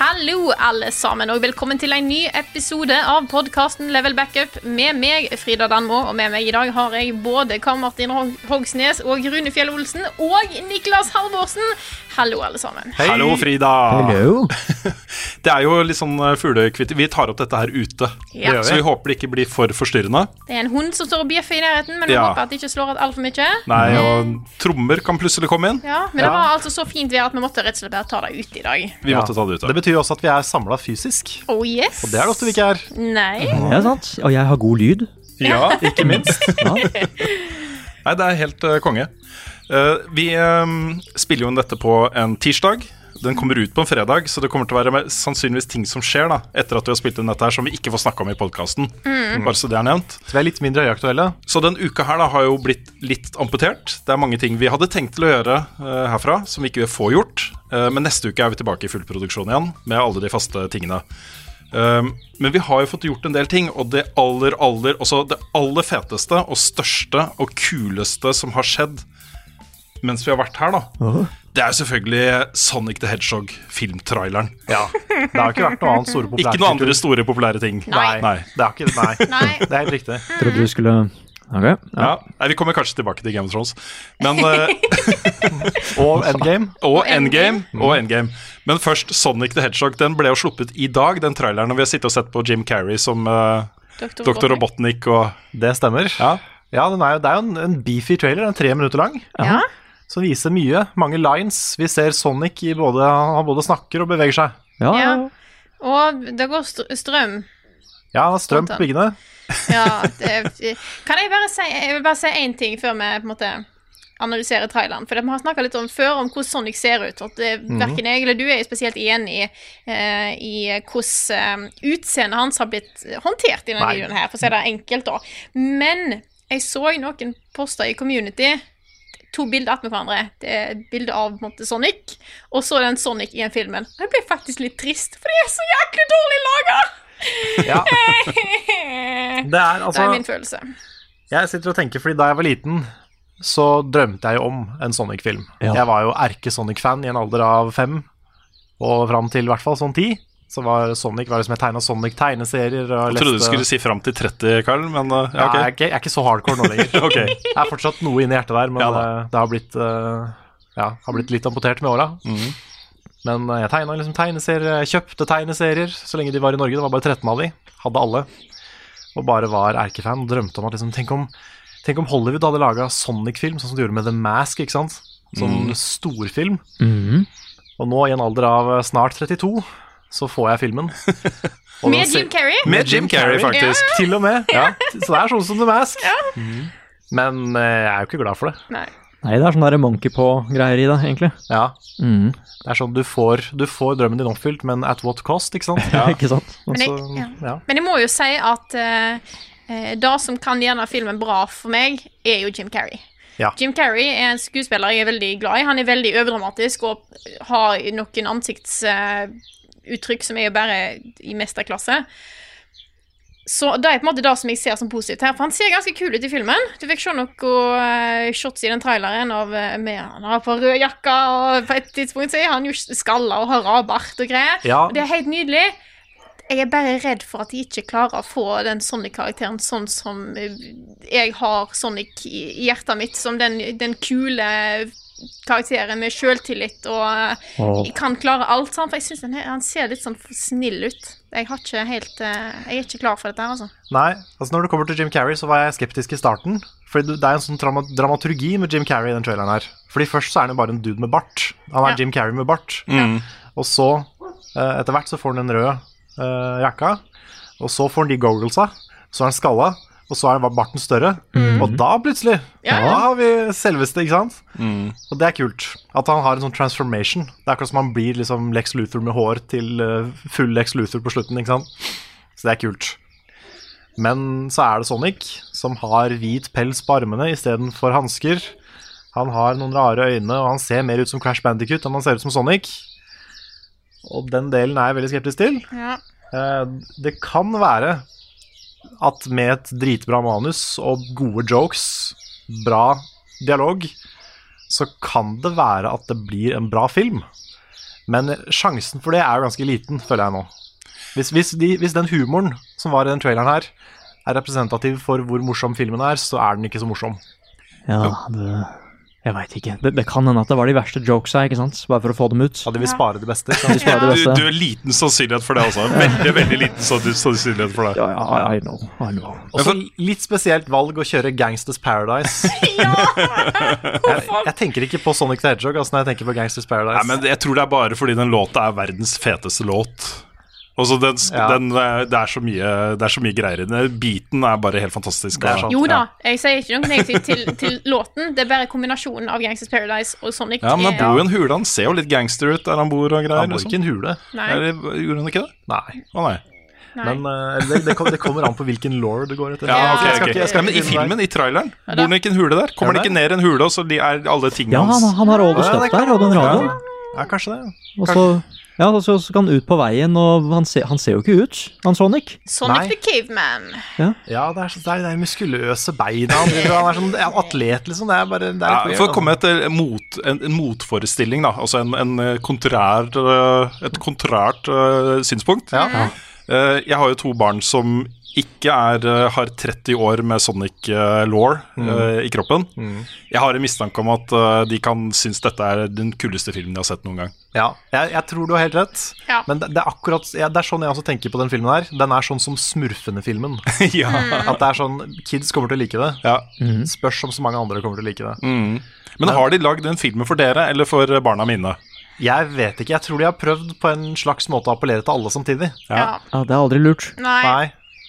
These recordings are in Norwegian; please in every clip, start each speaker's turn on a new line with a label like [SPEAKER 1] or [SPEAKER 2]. [SPEAKER 1] Hallo, alle sammen, og velkommen til en ny episode av podkasten Level Backup med meg, Frida Danmo. Og med meg i dag har jeg både Karl Martin Hog- Hogsnes og Rune Fjell Olsen og Niklas Halvorsen. Hallo, alle sammen.
[SPEAKER 2] Hei. Hallo, Frida. Det er jo litt sånn eh, fuglekvitter. Vi tar opp dette her ute,
[SPEAKER 1] Ja.
[SPEAKER 2] så vi håper det ikke blir for forstyrrende.
[SPEAKER 1] Det er en hund som står og bjeffer i nærheten, men vi
[SPEAKER 2] Ja.
[SPEAKER 1] håper at det ikke slår alt altfor mye.
[SPEAKER 2] Nei,
[SPEAKER 3] Mm.
[SPEAKER 2] og trommer kan plutselig komme inn.
[SPEAKER 1] Ja, men det var altså så fint vær at vi måtte rett og slett bare ta det ut i dag.
[SPEAKER 2] Vi måtte ta det ut.
[SPEAKER 3] Det betyr jo også at vi er samla fysisk.
[SPEAKER 1] Oh yes.
[SPEAKER 3] Det er det ofte vi ikke er.
[SPEAKER 1] Nei.
[SPEAKER 4] Ja, sant. Og jeg har god lyd.
[SPEAKER 2] Ja,
[SPEAKER 3] Ikke minst.
[SPEAKER 2] Nei, det er helt eh, konge. Eh, vi eh, spiller jo inn dette på en tirsdag. Den kommer ut på en fredag, så det kommer til å være med, sannsynligvis ting som skjer da, etter at vi har spilt inn dette her, som vi ikke får snakke om i podkasten. Bare så det er nevnt.
[SPEAKER 3] Mm. Så vi er litt mindre høyaktuelle.
[SPEAKER 2] Så den uka her da har jo blitt litt amputert. Det er mange ting vi hadde tenkt til å gjøre eh, herfra, som vi ikke får gjort. Eh, men neste uke er vi tilbake i full produksjon igjen med alle de faste tingene. Um, men vi har jo fått gjort en del ting, og det aller, aller Også det aller feteste og største og kuleste som har skjedd mens vi har vært her, da, det er selvfølgelig Sonic the Hedgehog, filmtraileren.
[SPEAKER 3] Ja. Det har ikke vært noe annet store populært.
[SPEAKER 2] Ikke noen andre store populære ting.
[SPEAKER 3] Nei.
[SPEAKER 2] Nei.
[SPEAKER 3] Det har ikke, nei.
[SPEAKER 1] Nei.
[SPEAKER 3] Det er helt riktig.
[SPEAKER 4] Trodde
[SPEAKER 1] Mhm.
[SPEAKER 4] du skulle Ok. Ja.
[SPEAKER 2] Ja. Nei, vi kommer kanskje tilbake til Game of Thrones. Men eh,
[SPEAKER 3] Og Endgame.
[SPEAKER 2] Og Endgame.
[SPEAKER 3] Mm.
[SPEAKER 2] Og Endgame. Men først Sonic the Hedgehog. Den ble jo sluppet i dag, den traileren. Og vi har sittet og sett på Jim Carrey som eh,
[SPEAKER 1] Dr.
[SPEAKER 2] Dr. Robotnik og
[SPEAKER 3] Det stemmer.
[SPEAKER 2] Ja.
[SPEAKER 3] Ja, den er jo, det er jo en, en beefy trailer. Den er tre minutter lang.
[SPEAKER 1] Ja.
[SPEAKER 3] Som viser mye. Mange lines. Vi ser Sonic i både Han både snakker og beveger seg.
[SPEAKER 4] Ja.
[SPEAKER 1] Ja. Og det går str strøm.
[SPEAKER 3] Ja, han har strøm
[SPEAKER 1] Sånn,
[SPEAKER 3] på byggene.
[SPEAKER 1] Ja, det, kan jeg bare si Jeg vil bare si én ting før vi på en måte analyserer traileren. For vi har snakka litt om før om hvordan Sonic ser ut. At det, verken jeg eller du er spesielt enig i, eh, i hvordan eh, utseendet hans har blitt håndtert i denne
[SPEAKER 3] Nei.
[SPEAKER 1] videoen her, for å si det enkelt, da. Men jeg så noen poster i community. To bilder attmed hverandre. Det er et bilde av på en måte, Sonic, og så den Sonic i den filmen. Og Jeg ble faktisk litt trist, for de er så jæklig dårlig laga!
[SPEAKER 3] Ja. Det er
[SPEAKER 1] Det er min
[SPEAKER 3] altså
[SPEAKER 1] følelse.
[SPEAKER 3] Jeg sitter og tenker, fordi da jeg var liten, så drømte jeg jo om en Sonic-film.
[SPEAKER 4] Ja.
[SPEAKER 3] Jeg var jo erke-Sonic-fan i en alder av fem, og fram til i hvert fall sånn ti. Så var Sonic var liksom jeg tegna Sonic-tegneserier. og
[SPEAKER 2] Jeg trodde du
[SPEAKER 3] leste-
[SPEAKER 2] skulle si fram til 30, Karl, men eh, ja,
[SPEAKER 3] ja, jeg, er
[SPEAKER 2] ok.
[SPEAKER 3] ikke, jeg er ikke så hardcore nå lenger.
[SPEAKER 2] Ok.
[SPEAKER 3] Jeg er fortsatt noe inni hjertet der, men
[SPEAKER 2] Ja da.
[SPEAKER 3] eh, det har blitt, eh, ja, har blitt litt amputert med åra.
[SPEAKER 2] Mm.
[SPEAKER 3] Men eh, jeg tegna liksom tegneserier, jeg kjøpte tegneserier så lenge de var i Norge. Det var bare 13 av de. Hadde alle. Og bare var erkefan. og Drømte om at liksom, tenk, om, tenk om Hollywood hadde laga Sonic-film, sånn som de gjorde med The Mask, ikke sant? Som
[SPEAKER 2] Mm.
[SPEAKER 3] storfilm.
[SPEAKER 4] Mhm.
[SPEAKER 3] Og nå, i en alder av eh, snart 32, så får jeg filmen. Og Mm. den
[SPEAKER 1] Med
[SPEAKER 3] ser-
[SPEAKER 1] Jim Carrey.
[SPEAKER 2] Med Jim Carrey, faktisk.
[SPEAKER 3] Til og med. Så det er sånn som The Mask. Men eh, jeg er jo ikke glad for det.
[SPEAKER 1] Nei.
[SPEAKER 4] Nei, det er sånn der monkey på-greier i det, egentlig.
[SPEAKER 3] Ja,
[SPEAKER 4] Mhm.
[SPEAKER 3] det er sånn Du får, du får drømmen din oppfylt, men at what cost, ikke sant?
[SPEAKER 4] Ikke sant?
[SPEAKER 1] Men jeg,
[SPEAKER 3] Så,
[SPEAKER 1] ja.
[SPEAKER 3] ja.
[SPEAKER 1] Men jeg må jo si at eh, eh, det som kan gjøre denne filmen bra for meg, er jo Jim Carrey.
[SPEAKER 3] Ja.
[SPEAKER 1] Jim Carrey er en skuespiller jeg er veldig glad i. Han er veldig overdramatisk og har noen ansiktsuttrykk som er jo bare i mesterklasse. Så det er på en måte det som jeg ser som positivt her. For han ser ganske kul ut i filmen. Du fikk se noen eh, shots i den traileren av eh, med han har på rød jakke, og på et tidspunkt så er han jo skalla og har rabart og greier.
[SPEAKER 3] Ja.
[SPEAKER 1] Og Det er helt nydelig. Jeg er bare redd for at de ikke klarer å få den Sonic-karakteren sånn som eh, jeg har Sonic i i hjertet mitt, som den, den kule karakterer med sjøltillit og eh,
[SPEAKER 4] Og
[SPEAKER 1] kan klare alt. Sant? For jeg syns han ser litt sånn for snill ut. Jeg, har ikke helt, eh, jeg er ikke klar for dette her, altså.
[SPEAKER 3] Nei, altså når det kommer til Jim Carrey, så var jeg skeptisk i starten. Fordi du- det er en sånn drama dramaturgi med Jim Carrey i den traileren her. Fordi først så er han jo bare en dude med bart. Han er
[SPEAKER 1] Ja.
[SPEAKER 3] Jim Carrey med bart.
[SPEAKER 2] Mm.
[SPEAKER 3] Og så, eh, etter hvert, så får han den røde eh, jakka. Og så får han de gogglesa. Så er han skalla. Og så er han- var barten større. Og da plutselig
[SPEAKER 1] Ja, ja.
[SPEAKER 3] Da har vi selveste, ikke sant? Og det er kult. At han har en sånn transformation. Det er akkurat som han blir liksom Lex Luthor med hår til eh, full Lex Luthor på slutten, ikke sant? Så det er kult. Men så er det Sonic, som har hvit pels på armene istedenfor hansker. Han har noen rare øyne, og han ser mer ut som Crash Bandicut enn han ser ut som Sonic. Og den delen er jeg veldig skeptisk til.
[SPEAKER 1] Ja.
[SPEAKER 3] Eh, Det kan være at med et dritbra manus og gode jokes, bra dialog, så kan det være at det blir en bra film. Men sjansen for det er jo ganske liten, føler jeg nå. Hvis, hvis, de, hvis den humoren som var i den traileren her, er representativ for hvor morsom filmen er, så er den ikke så morsom.
[SPEAKER 4] ja, det Jeg veit ikke. Det, det kan hende at det var de verste jokesa, ikke sant? Bare for å få dem ut.
[SPEAKER 3] Ja, de vil spare det beste.
[SPEAKER 4] De
[SPEAKER 3] ikke sant?
[SPEAKER 4] sparer det
[SPEAKER 2] Du, du
[SPEAKER 4] beste.
[SPEAKER 2] er liten sannsynlighet for det, altså. Veldig, veldig liten sann- sannsynlighet for det.
[SPEAKER 4] Ja, ja, I know. I know.
[SPEAKER 3] Også litt spesielt valg å kjøre Gangsters Paradise. jeg, jeg tenker ikke på Sonic the Hedgehog altså, når jeg tenker på Gangsters Paradise.
[SPEAKER 2] Nei, men Jeg tror det er bare fordi den låta er verdens feteste låt. Altså, den, sk-
[SPEAKER 3] Ja.
[SPEAKER 2] den, eh, det, er så mye, det er så mye greier i den. Beaten er sånn- bare helt fantastisk.
[SPEAKER 3] Det er
[SPEAKER 2] og-
[SPEAKER 3] sant.
[SPEAKER 1] Jo da, jeg sier ikke noe negativt til, til låten. Det er bare kombinasjonen av Gangsters Paradise og Sonic.
[SPEAKER 2] Ja, men han
[SPEAKER 1] er-
[SPEAKER 2] bor jo i en hule. Han ser jo litt gangster ut der han bor og greier.
[SPEAKER 3] Han bor
[SPEAKER 2] liksom.
[SPEAKER 3] ikke i en hule.
[SPEAKER 1] Nei,
[SPEAKER 2] Eller, gjorde han ikke det?
[SPEAKER 3] Nei.
[SPEAKER 2] Å nei.
[SPEAKER 1] nei.
[SPEAKER 3] Men eh, det, det, kom, det kommer an på hvilken law det går etter.
[SPEAKER 2] Ja,
[SPEAKER 1] Ja,
[SPEAKER 2] Ah, ok,
[SPEAKER 3] Jeg
[SPEAKER 2] ok.
[SPEAKER 3] skal ikke- jeg skal
[SPEAKER 2] Men i
[SPEAKER 3] ikke begynne
[SPEAKER 2] filmen, i traileren,
[SPEAKER 1] Ja,
[SPEAKER 2] bor han ikke i en hule der? Kommer
[SPEAKER 3] Ja,
[SPEAKER 2] han ikke ned i en hule, og så de er alle tingene
[SPEAKER 4] Ja, han,
[SPEAKER 2] hans
[SPEAKER 4] han har all the
[SPEAKER 3] Ja,
[SPEAKER 4] stuff
[SPEAKER 3] det
[SPEAKER 4] der,
[SPEAKER 3] kan-
[SPEAKER 4] og den radioen.
[SPEAKER 3] der. Ja, kanskje det.
[SPEAKER 4] Og så, ja, og så skal han ut på veien, og han, ser- han ser jo ikke ut, han Sonic.
[SPEAKER 1] Sonic
[SPEAKER 3] nei.
[SPEAKER 1] the Caveman.
[SPEAKER 3] Ja, det er, så- det er de muskuløse beina. Han driver- han er sånn en atlet, liksom. Det er bare det er litt
[SPEAKER 2] ja,
[SPEAKER 3] weird,
[SPEAKER 2] For å
[SPEAKER 3] altså.
[SPEAKER 2] komme etter mot, en, en motforestilling, da. Altså en, en eh, kontrær, eh, et kontrært eh, synspunkt.
[SPEAKER 3] Ja.
[SPEAKER 2] Eh, Jeg har jo to barn som ikke er, eh, har 30 år med Sonic eh, law eh, i kroppen. Jeg har en mistanke om at eh, de kan synes dette er den kuleste filmen de har sett noen gang.
[SPEAKER 3] ja. Jeg, jeg tror du har helt rett.
[SPEAKER 1] Ja.
[SPEAKER 3] Men det, det er akkurat ja, Det er sånn jeg også tenker på den filmen her. Den er sånn som Smurfene-filmen.
[SPEAKER 2] ja.
[SPEAKER 1] Mm.
[SPEAKER 3] At det er sånn Kids kommer til å like det.
[SPEAKER 2] ja.
[SPEAKER 3] Spørs om så mange andre kommer til å like det.
[SPEAKER 2] Mm. Men har de lagd den filmen for dere eller for barna mine?
[SPEAKER 3] Jeg vet ikke. Jeg tror de har prøvd på en slags måte å appellere til alle samtidig.
[SPEAKER 1] Ja.
[SPEAKER 2] Ja.
[SPEAKER 4] Ja, det er aldri lurt.
[SPEAKER 1] Nei.
[SPEAKER 3] Nei.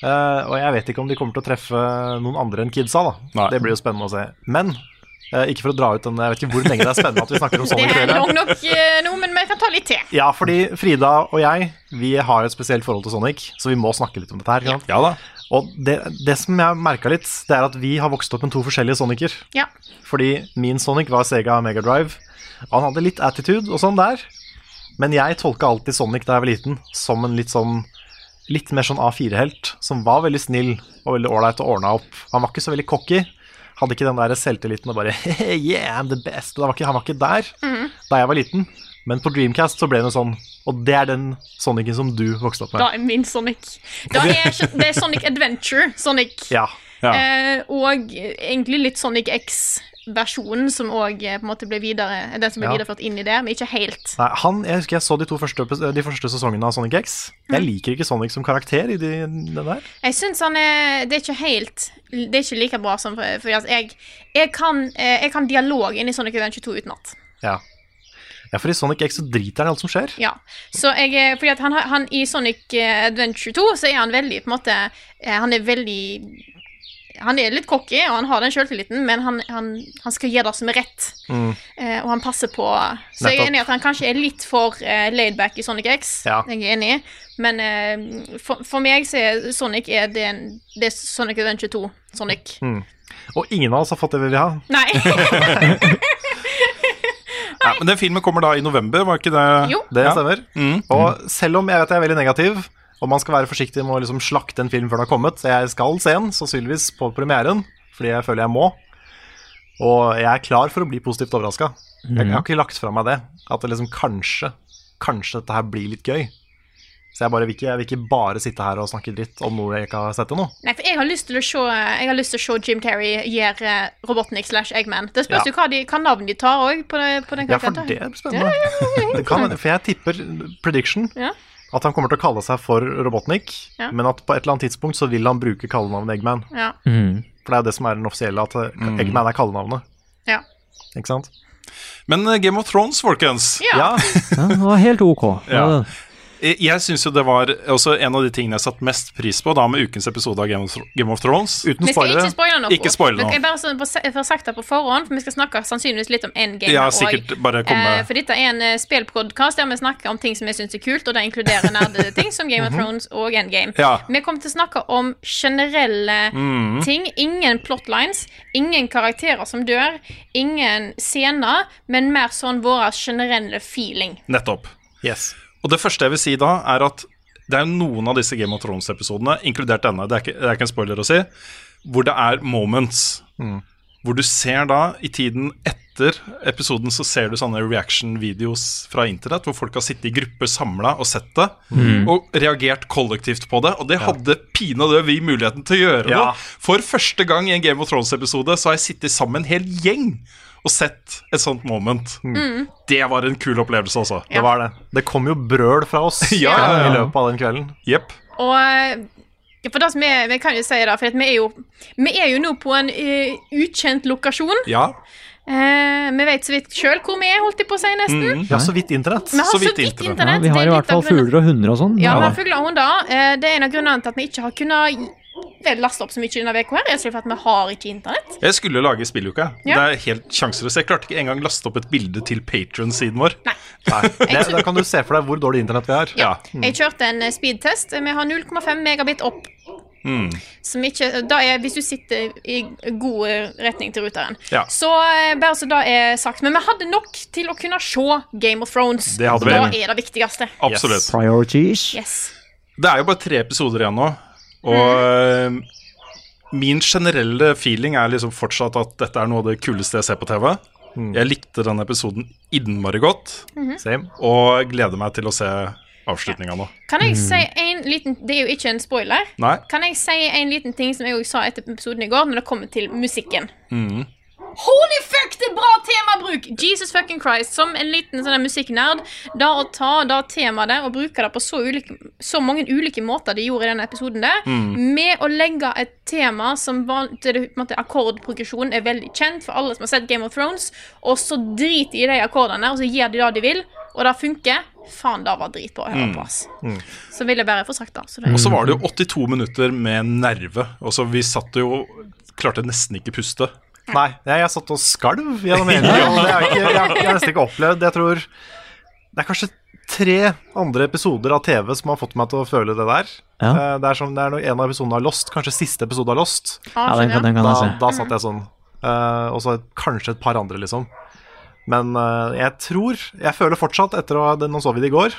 [SPEAKER 3] Eh, og jeg vet ikke om de kommer til å treffe noen andre enn kidsa. da
[SPEAKER 2] Nei.
[SPEAKER 3] Det blir jo spennende å se. Men eh, ikke for å dra ut den Jeg vet ikke hvor lenge det er spennende at vi snakker
[SPEAKER 1] Det
[SPEAKER 3] om Sonic.
[SPEAKER 1] er
[SPEAKER 3] Trailer.
[SPEAKER 1] lang nok eh, nå, men vi kan ta litt til.
[SPEAKER 3] Ja, fordi Frida og jeg Vi har et spesielt forhold til Sonic, så vi må snakke litt om dette her. ikke sant?
[SPEAKER 2] Ja da.
[SPEAKER 3] Og det, det som jeg merka litt, det er at vi har vokst opp med to forskjellige Sonicer.
[SPEAKER 1] Ja.
[SPEAKER 3] Fordi min Sonic var Sega Mega Drive. Han hadde litt attitude og sånn der. Men jeg tolka alltid Sonic da jeg var liten som en litt sånn Litt mer sånn A4-helt, som var veldig snill og veldig ålreit og ordna opp. Han var ikke så veldig cocky. Hadde ikke den der selvtilliten og bare Yeah, I'm the best. Det Var ikke, han var ikke der
[SPEAKER 1] Mm-hmm.
[SPEAKER 3] da jeg var liten. Men på Dreamcast så ble det sånn. Og det er den Sonicen som du vokste opp med.
[SPEAKER 1] Da er min Sonic. Da er, ikke- det er Sonic Adventure. Sonic.
[SPEAKER 3] Ja.
[SPEAKER 2] Ja.
[SPEAKER 1] Eh, og egentlig litt Sonic X-versjonen, som òg eh, på en måte ble videre Den som ble
[SPEAKER 3] Ja.
[SPEAKER 1] videreført inn i det, men ikke helt.
[SPEAKER 3] Nei, han, jeg husker jeg så de to første, epis- de første sesongene av Sonic X. Jeg liker ikke Sonic som karakter i de, den der.
[SPEAKER 1] Jeg syns han er Det er ikke helt Det er ikke like bra som for, for altså, jeg, jeg, kan, eh, jeg kan dialog inn i Sonic Adventure 2 utenat.
[SPEAKER 3] Ja. ja, for i Sonic X så driter han i alt som skjer.
[SPEAKER 1] Ja. Så jeg er- Fordi at han, har- han i Sonic eh, Adventure 2 så er han veldig på en måte eh, Han er veldig han er litt cocky, og han har den sjøltilliten, men han, han, han skal gjøre det som er rett.
[SPEAKER 3] Mm.
[SPEAKER 1] Eh, og han passer på Så jeg er
[SPEAKER 3] Nettopp.
[SPEAKER 1] enig i at han kanskje er litt for eh, laidback i Sonic X.
[SPEAKER 3] Ja.
[SPEAKER 1] Jeg er enig. Men eh, for, for meg så er Sonic er det, en- det er Sonic Adventure 2. Sonic.
[SPEAKER 3] Og ingen av oss har fått det vi vil ha.
[SPEAKER 1] Nei.
[SPEAKER 2] Ja, men den filmen kommer da i november, var ikke det?
[SPEAKER 1] jo.
[SPEAKER 3] Det
[SPEAKER 2] Ja.
[SPEAKER 3] stemmer.
[SPEAKER 2] Mm.
[SPEAKER 3] Og selv om jeg vet jeg er veldig negativ, og man skal være forsiktig med å liksom slakte en film før den har kommet Jeg skal se den, sannsynligvis på premieren, fordi jeg føler jeg må. Og jeg er klar for å bli positivt overraska.
[SPEAKER 4] Mhm.
[SPEAKER 1] Mm.
[SPEAKER 3] Jeg har ikke lagt fra meg det. At det liksom kanskje Kanskje dette her blir litt gøy. Så jeg, bare vil ikke, jeg vil ikke bare sitte her og snakke dritt om noe jeg ikke har sett ennå.
[SPEAKER 1] Nei, for jeg har lyst til å se, jeg har lyst til å se Jim Carrey gjøre eh, Robotnik slash Eggman. Det spørs
[SPEAKER 3] Ja.
[SPEAKER 1] jo hva, de, hva navn de tar òg på, det- på den
[SPEAKER 3] Ja, for
[SPEAKER 1] karakteren.
[SPEAKER 3] det er spennende. Det kan, hende- for jeg tipper prediction
[SPEAKER 1] Ja.
[SPEAKER 3] at han kommer til å kalle seg for Robotnik,
[SPEAKER 1] Ja.
[SPEAKER 3] men at på et eller annet tidspunkt så vil han bruke kallenavnet Eggman.
[SPEAKER 1] Ja.
[SPEAKER 4] Mm.
[SPEAKER 3] For det er jo det som er den offisielle, at eh,
[SPEAKER 2] Mm.
[SPEAKER 3] Eggman er kallenavnet.
[SPEAKER 1] Ja.
[SPEAKER 3] Ikke sant?
[SPEAKER 2] Men eh, Game of Thrones, folkens.
[SPEAKER 1] Ja.
[SPEAKER 3] Ja,
[SPEAKER 4] Ja, det var helt ok.
[SPEAKER 2] Ja. Jeg- Eh, Jeg syns jo det var også en av de tingene jeg satte mest pris på da med ukens episode av Game of, Thro- Game of Thrones.
[SPEAKER 3] uten
[SPEAKER 1] Vi skal
[SPEAKER 3] spoilere.
[SPEAKER 1] ikke spoile noe.
[SPEAKER 2] Ikke spoile noe.
[SPEAKER 1] Men Jeg bare sånn på se- for å ha sagt det på forhånd, for vi skal snakke sannsynligvis litt om endgame
[SPEAKER 2] Ja,
[SPEAKER 1] og-
[SPEAKER 2] sikkert bare
[SPEAKER 1] Eh,
[SPEAKER 2] komme
[SPEAKER 1] for dette er en eh, spillpodkast der vi snakker om ting som vi syns er kult, og det inkluderer nerdeting som Game of Thrones og Endgame.
[SPEAKER 2] Mhm. Ja.
[SPEAKER 1] Vi kommer til å snakke om generelle ting. Ingen plotlines, ingen karakterer som dør, ingen scener, men mer sånn vår generelle feeling.
[SPEAKER 2] Nettopp.
[SPEAKER 3] Yes.
[SPEAKER 2] Og det første jeg vil si da, er at det er noen av disse Game of Thrones-episodene, inkludert denne, det er, ikke, det er ikke en spoiler å si, hvor det er moments.
[SPEAKER 3] Mm.
[SPEAKER 2] Hvor du ser da, i tiden etter episoden, så ser du sånne reaction-videos fra internett, hvor folk har sittet i grupper samla og sett det, og reagert kollektivt på det. Og det hadde pinadø vi muligheten til å gjøre
[SPEAKER 3] Ja.
[SPEAKER 2] nå. For første gang i en Game of Thrones-episode så har jeg sittet sammen en hel gjeng og sett et sånt moment. Det var en kul opplevelse, altså.
[SPEAKER 3] Mm. Det var det. Det kom jo brøl fra oss
[SPEAKER 2] Ja, ja, ja.
[SPEAKER 3] i løpet av den kvelden.
[SPEAKER 2] Jepp.
[SPEAKER 1] Og eh, ja, for det som er, Vi kan jo si det, for at vi, er jo, vi er jo nå på en eh, ukjent lokasjon.
[SPEAKER 2] Ja.
[SPEAKER 1] Eh, vi vet så vidt sjøl hvor vi er, holdt jeg på å si, nesten.
[SPEAKER 3] Ja, Mm. så vidt internett.
[SPEAKER 1] Vi har
[SPEAKER 2] Så
[SPEAKER 1] så
[SPEAKER 2] vidt
[SPEAKER 1] vidt
[SPEAKER 2] internett.
[SPEAKER 4] Ja,
[SPEAKER 1] internett.
[SPEAKER 4] vi
[SPEAKER 1] det
[SPEAKER 4] har
[SPEAKER 1] er
[SPEAKER 4] i
[SPEAKER 1] litt
[SPEAKER 4] hvert fall
[SPEAKER 1] av grunnen-
[SPEAKER 4] fugler og hunder og sånn.
[SPEAKER 1] Ja, vi
[SPEAKER 4] Ja,
[SPEAKER 1] har fugler og hunder. Eh, Det er en av grunnene til at vi ikke har kunnet vel, laste opp så mye denne uka her. er selvfølgelig for at vi har ikke internett.
[SPEAKER 2] Jeg skulle lage spilluke.
[SPEAKER 1] Ja.
[SPEAKER 2] Det er helt sjanseløst. Jeg klarte ikke engang laste opp et bilde til Patron-siden vår.
[SPEAKER 3] Nei, det, da kan du se for deg hvor dårlig internett vi har.
[SPEAKER 2] Ja.
[SPEAKER 1] Jeg kjørte en eh, speedtest. Vi har 0,5 megabit opp.
[SPEAKER 2] Mm.
[SPEAKER 1] Som ikke, eh, da er, hvis du sitter i god eh, retning til ruteren.
[SPEAKER 2] Ja.
[SPEAKER 1] Så eh, bare så da er sagt. Men vi hadde nok til å kunne se Game of Thrones.
[SPEAKER 2] Det hadde vi.
[SPEAKER 1] da er det viktigste.
[SPEAKER 2] Absolutt.
[SPEAKER 3] Yes.
[SPEAKER 4] Priorities.
[SPEAKER 1] Yes.
[SPEAKER 2] Det er jo bare tre episoder igjen nå, og eh, min generelle feeling er liksom fortsatt at dette er noe av det kuleste jeg ser på TV. Jeg likte denne episoden innmari godt,
[SPEAKER 3] Same.
[SPEAKER 2] og gleder meg til å se avslutninga nå.
[SPEAKER 1] Kan jeg si en liten Det er jo ikke en spoiler.
[SPEAKER 2] Nei?
[SPEAKER 1] Kan jeg si en liten ting som jeg også sa etter episoden i går, når det kommer til musikken? Holy fuck, det er bra temabruk! Jesus fucking Christ. Som en liten sånn der musikknerd. Da å ta da temaet der og bruke det på så, ulike, så mange ulike måter de gjorde i den episoden der, med å legge et tema som van, til det, på en måte, akkordprogresjon er veldig kjent for alle som har sett Game of Thrones, og så driter de i de akkordene, og så gir de det de vil, og det funker. Faen, det var dritbra å høre på, ass. Så vil jeg bare få sagt det. Så det
[SPEAKER 2] Og så var det jo 82 minutter med nerve. Og så Vi satt jo Klarte nesten ikke puste.
[SPEAKER 3] Nei, jeg, jeg satt og skalv gjennom hele og det er ikke, jeg, har- jeg har nesten ikke opplevd. Jeg tror Det er kanskje tre andre episoder av TV som har fått meg til å føle det der.
[SPEAKER 4] Ja.
[SPEAKER 3] Eh, Det er, som, det er noe- en av episodene av Lost, kanskje siste episode av Lost.
[SPEAKER 4] Ja, den kan, den kan
[SPEAKER 3] Da,
[SPEAKER 4] jeg se.
[SPEAKER 3] da satt jeg sånn. Eh, og så kanskje et par andre, liksom. Men eh, jeg tror Jeg føler fortsatt, etter å ha Nå så vi det i går,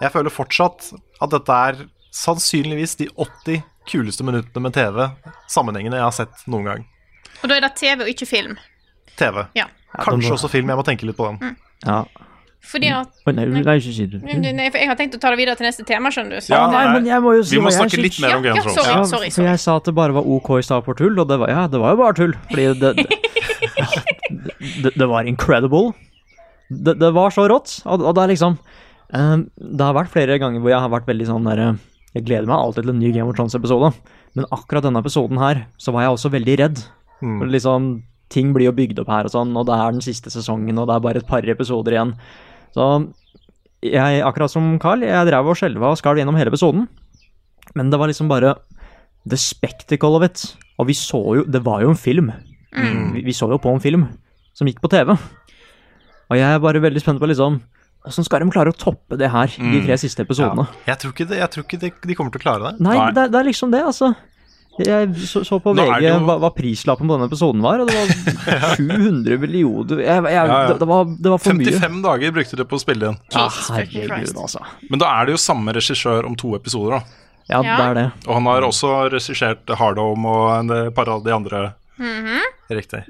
[SPEAKER 3] jeg føler fortsatt at dette er sannsynligvis de 80 kuleste minuttene med TV sammenhengende jeg har sett noen gang.
[SPEAKER 1] Og da er det TV og ikke film.
[SPEAKER 3] TV.
[SPEAKER 1] Ja.
[SPEAKER 3] Kanskje også film. Jeg må tenke litt på den.
[SPEAKER 4] Ja.
[SPEAKER 1] Fordi at
[SPEAKER 4] Å, nei, nei, ikke si det.
[SPEAKER 1] Nei, for jeg har tenkt å ta det videre til neste tema, skjønner du. Så
[SPEAKER 2] Mm. Ja,
[SPEAKER 4] Nei, men jeg må jo si
[SPEAKER 2] Vi må
[SPEAKER 4] hva jeg
[SPEAKER 2] snakke litt
[SPEAKER 4] syns.
[SPEAKER 2] mer om
[SPEAKER 1] Ja,
[SPEAKER 2] Game
[SPEAKER 1] ja,
[SPEAKER 2] of Thrones.
[SPEAKER 1] sorry.
[SPEAKER 4] Ja, for jeg sa at det bare var ok i stad for tull, og det var, ja, det var jo bare tull. Fordi det Det, det, det var incredible. Det, det var så rått. Og, og det er liksom eh, Det har vært flere ganger hvor jeg har vært veldig sånn der eh, Jeg gleder meg alltid til en ny Game of Thrones-episode, men akkurat denne episoden her, så var jeg også veldig redd.
[SPEAKER 3] Mm.
[SPEAKER 4] For liksom, ting blir jo bygd opp her og sånn, og det er den siste sesongen, og det er bare et par episoder igjen. Så jeg, akkurat som Carl, jeg drev og skjelva og skalv gjennom hele episoden. Men det var liksom bare the spectacle of it. Og vi så jo Det var jo en film. Vi, vi så jo på en film som gikk på TV. Og jeg er bare veldig spent på liksom Åssen skal de klare å toppe det her, de tre siste episodene?
[SPEAKER 3] Jeg tror ikke, det, jeg tror ikke de, de kommer til å klare det.
[SPEAKER 4] Nei,
[SPEAKER 2] Nei.
[SPEAKER 4] Det, er- det er liksom det, altså. Jeg så, så på
[SPEAKER 2] Nå er
[SPEAKER 4] VG
[SPEAKER 2] det jo-
[SPEAKER 4] hva, hva prislappen på denne episoden var, og det var 700 millioner jeg, jeg,
[SPEAKER 2] ja.
[SPEAKER 4] Det, det, var, det var for mye.
[SPEAKER 2] 55 dager brukte det på å spille inn.
[SPEAKER 4] Ja,
[SPEAKER 1] Jesus fucking
[SPEAKER 4] herregud,
[SPEAKER 1] Christ.
[SPEAKER 4] altså.
[SPEAKER 2] Men da er det jo samme regissør om to episoder, da.
[SPEAKER 4] Ja,
[SPEAKER 1] Ja.
[SPEAKER 4] det er det.
[SPEAKER 2] Og han har også regissert Hardhome og en eh, par av de andre
[SPEAKER 1] Mhm.
[SPEAKER 3] Riktig.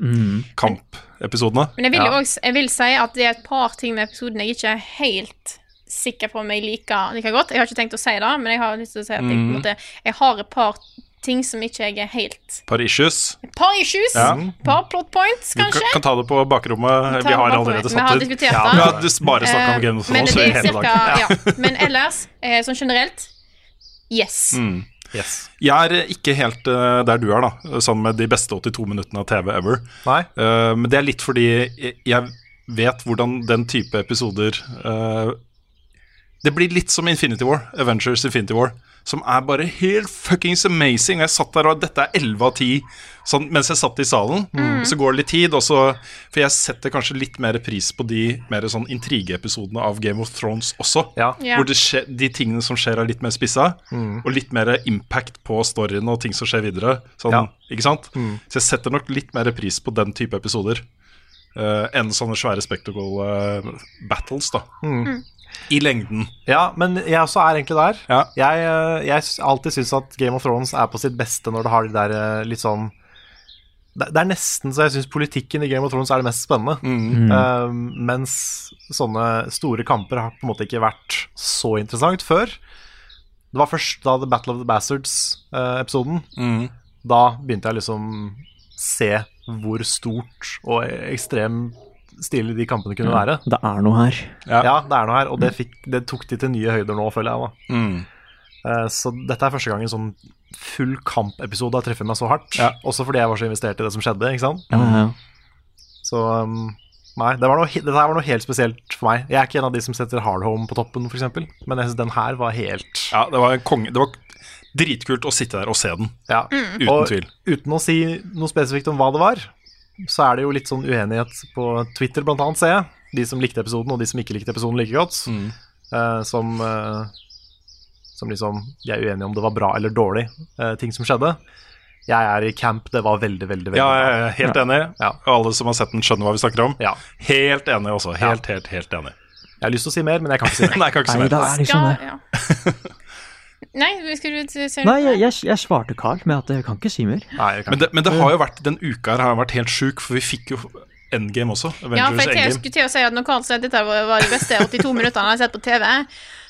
[SPEAKER 2] kampepisodene.
[SPEAKER 1] Men jeg vil jo også jeg vil si at det er et par ting med episoden jeg ikke er helt sikker på om jeg liker like godt. Jeg har ikke tenkt å si det, men jeg har lyst til å si at jeg,
[SPEAKER 2] Mm.
[SPEAKER 1] på en måte, jeg har et par ting som ikke jeg er helt
[SPEAKER 2] Par issues.
[SPEAKER 1] Et par issues,
[SPEAKER 2] Ja.
[SPEAKER 1] par plot points,
[SPEAKER 2] Du
[SPEAKER 1] kanskje.
[SPEAKER 2] kan, kan ta det på bakrommet.
[SPEAKER 1] Ta
[SPEAKER 2] Vi
[SPEAKER 1] det på
[SPEAKER 2] har
[SPEAKER 1] bakrommet.
[SPEAKER 2] allerede
[SPEAKER 1] Vi har
[SPEAKER 2] satt ut.
[SPEAKER 1] diskutert
[SPEAKER 2] Ja,
[SPEAKER 1] det.
[SPEAKER 2] vi har dis- bare snakket om
[SPEAKER 1] Eh,
[SPEAKER 2] Game of
[SPEAKER 1] men
[SPEAKER 2] Thrones
[SPEAKER 1] det
[SPEAKER 2] i
[SPEAKER 1] er
[SPEAKER 2] hele
[SPEAKER 1] cirka,
[SPEAKER 2] dag.
[SPEAKER 1] ja. Men ellers, eh, sånn generelt,
[SPEAKER 2] Mm.
[SPEAKER 1] yes.
[SPEAKER 3] Yes.
[SPEAKER 2] Jeg er ikke helt eh, der du er, da, sånn med de beste 82 minuttene av TV ever.
[SPEAKER 3] Nei?
[SPEAKER 2] Eh, men det er litt fordi jeg- jeg vet hvordan den type episoder eh, Det blir litt som Infinity War, Avengers Infinity War, som er bare helt fuckings amazing. Og jeg satt der, og dette er 11 av 10 sånn, mens jeg satt i salen. Så går det litt tid, og så For jeg setter kanskje litt mer pris på de mer sånn intrigeepisodene av Game of Thrones også.
[SPEAKER 3] Ja.
[SPEAKER 1] Ja.
[SPEAKER 2] Hvor det skje, de tingene som skjer, er litt mer spissa,
[SPEAKER 3] Mm.
[SPEAKER 2] og litt mer impact på storyen og ting som skjer videre. Sånn,
[SPEAKER 3] Ja. Mm.
[SPEAKER 2] ikke sant? Så jeg setter nok litt mer pris på den type episoder eh, enn sånne svære spectacle eh, battles, da.
[SPEAKER 3] Mm.
[SPEAKER 2] I lengden.
[SPEAKER 3] ja, men jeg også er egentlig der.
[SPEAKER 2] Ja.
[SPEAKER 3] Jeg, eh, jeg s- alltid syns at Game of Thrones er på sitt beste når det har de der eh, litt sånn Det det er nesten så jeg syns politikken i Game of Thrones er det mest spennende. Eh, mens sånne store kamper har på en måte ikke vært så interessant før. Det var først da The Battle of the Bastards-episoden. Da begynte jeg liksom se hvor stort og ekstrem stilig de kampene kunne være.
[SPEAKER 4] Det er noe her.
[SPEAKER 2] Ja. Mm.
[SPEAKER 3] Ja, det er noe her, og det, fikk, det tok de til nye høyder nå, føler jeg. da. Eh, Så dette er første gang en sånn full kampepisode har truffet meg så hardt.
[SPEAKER 2] Ja.
[SPEAKER 3] Også fordi jeg var så investert i det som skjedde. ikke sant?
[SPEAKER 4] Ja, ja.
[SPEAKER 3] Så um, nei, det var noe, he- dette her var noe helt spesielt for meg. Jeg er ikke en av de som setter Hardhome på toppen, f.eks., men jeg synes den her var helt
[SPEAKER 2] Ja, det var en konge Det var dritkult å sitte der og se den.
[SPEAKER 3] Ja.
[SPEAKER 2] Uten
[SPEAKER 3] og
[SPEAKER 2] tvil.
[SPEAKER 3] uten å si noe spesifikt om hva det var, så er det jo litt sånn uenighet på Twitter, blant annet, ser jeg. De som likte episoden, og de som ikke likte episoden like godt.
[SPEAKER 2] Mm.
[SPEAKER 3] eh, som, eh, som liksom De er uenige om det var bra eller dårlig, eh, ting som skjedde. Jeg er i camp, det var veldig, veldig, veldig
[SPEAKER 2] Ja, jeg er helt enig.
[SPEAKER 3] Ja.
[SPEAKER 2] Og alle som har sett den, skjønner hva vi snakker om.
[SPEAKER 3] bra. Ja.
[SPEAKER 2] Helt enig også. Helt, helt, helt enig.
[SPEAKER 3] Jeg har lyst til å si mer, men jeg kan ikke si mer.
[SPEAKER 2] Nei, jeg kan ikke si
[SPEAKER 4] Nei,
[SPEAKER 2] mer.
[SPEAKER 4] det er liksom
[SPEAKER 1] Ja,
[SPEAKER 4] det.
[SPEAKER 1] ja. Nei, skal du si si-
[SPEAKER 4] Nei, jeg, jeg, jeg svarte Carl med at jeg kan ikke si mer.
[SPEAKER 3] Nei, jeg kan
[SPEAKER 2] Men
[SPEAKER 3] ikke.
[SPEAKER 2] det, men det har jo vært, den uka her har vært helt sjuk, for vi fikk jo Endgame også.
[SPEAKER 1] Ja, for
[SPEAKER 2] Avengers
[SPEAKER 1] jeg til-
[SPEAKER 2] Endgame.
[SPEAKER 1] skulle til å si at når Karl sa at dette var var de beste 82 minuttene jeg har sett på TV,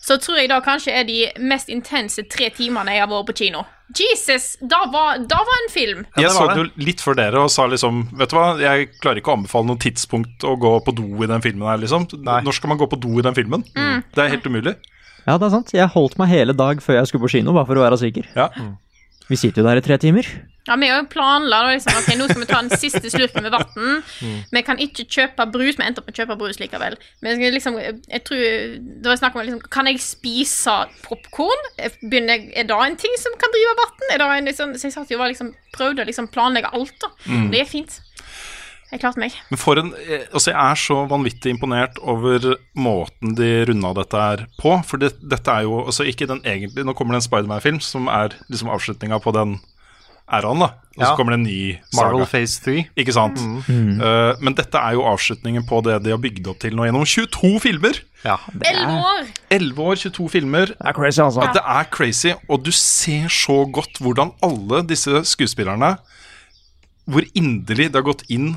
[SPEAKER 1] så tror jeg da kanskje er de mest intense tre timene jeg har vært på kino. Jesus! Da var, da var en film.
[SPEAKER 3] Ja,
[SPEAKER 2] Jeg
[SPEAKER 3] det
[SPEAKER 2] så
[SPEAKER 3] var
[SPEAKER 2] det jo litt før dere og sa liksom Vet du hva, jeg klarer ikke å anbefale noe tidspunkt å gå på do i den filmen her, liksom.
[SPEAKER 3] Nei.
[SPEAKER 2] Når skal man gå på do i den filmen?
[SPEAKER 1] Mm.
[SPEAKER 2] Det er helt umulig.
[SPEAKER 4] Ja, det er sant. Jeg holdt meg hele dag før jeg skulle på kino, bare for å være sikker.
[SPEAKER 2] Ja.
[SPEAKER 3] Mm.
[SPEAKER 4] Vi sitter jo der i tre timer.
[SPEAKER 1] Ja, Vi har jo planla da liksom, ok, nå skal vi ta den siste slurken med vann. Vi kan ikke kjøpe brus, vi endte opp med å kjøpe brus likevel. Men jeg, liksom, jeg tror, det var snakk om liksom, Kan jeg spise popkorn? Begynner jeg- Er det en ting som kan drive vann? Liksom, så jeg satt jo og var liksom, prøvde å liksom, planlegge alt. da. Det er fint. Jeg klarte meg.
[SPEAKER 2] Men for en eh, Altså, jeg er så vanvittig imponert over måten de runda dette her på. For det, dette er jo altså ikke den egentlig Nå kommer det en Spiderman-film som er liksom avslutninga på den æraen, da. Og så
[SPEAKER 3] Ja.
[SPEAKER 2] kommer det en ny
[SPEAKER 3] Marvel
[SPEAKER 2] saga.
[SPEAKER 3] Phase 3.
[SPEAKER 2] Ikke sant?
[SPEAKER 4] Mm.
[SPEAKER 2] Eh, men dette er jo avslutningen på det de har bygd opp til nå gjennom 22 filmer!
[SPEAKER 3] Ja.
[SPEAKER 1] Elleve år!
[SPEAKER 2] 11 år, 22 filmer.
[SPEAKER 4] Det er crazy, altså.
[SPEAKER 2] At det er crazy, og du ser så godt hvordan alle disse skuespillerne Hvor inderlig de har gått inn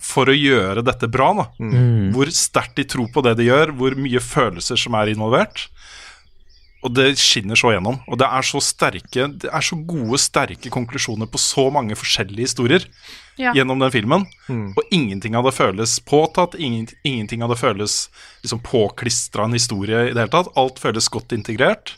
[SPEAKER 2] for å gjøre dette bra. Da.
[SPEAKER 4] Mm.
[SPEAKER 2] Hvor sterkt de tror på det de gjør, hvor mye følelser som er involvert. Og det skinner så gjennom. Og det er så sterke Det er så gode, sterke konklusjoner på så mange forskjellige historier
[SPEAKER 1] Ja.
[SPEAKER 2] gjennom den filmen. Og ingenting av det føles påtatt, ingen, ingenting av det føles liksom påklistra en historie i det hele tatt. Alt føles godt integrert.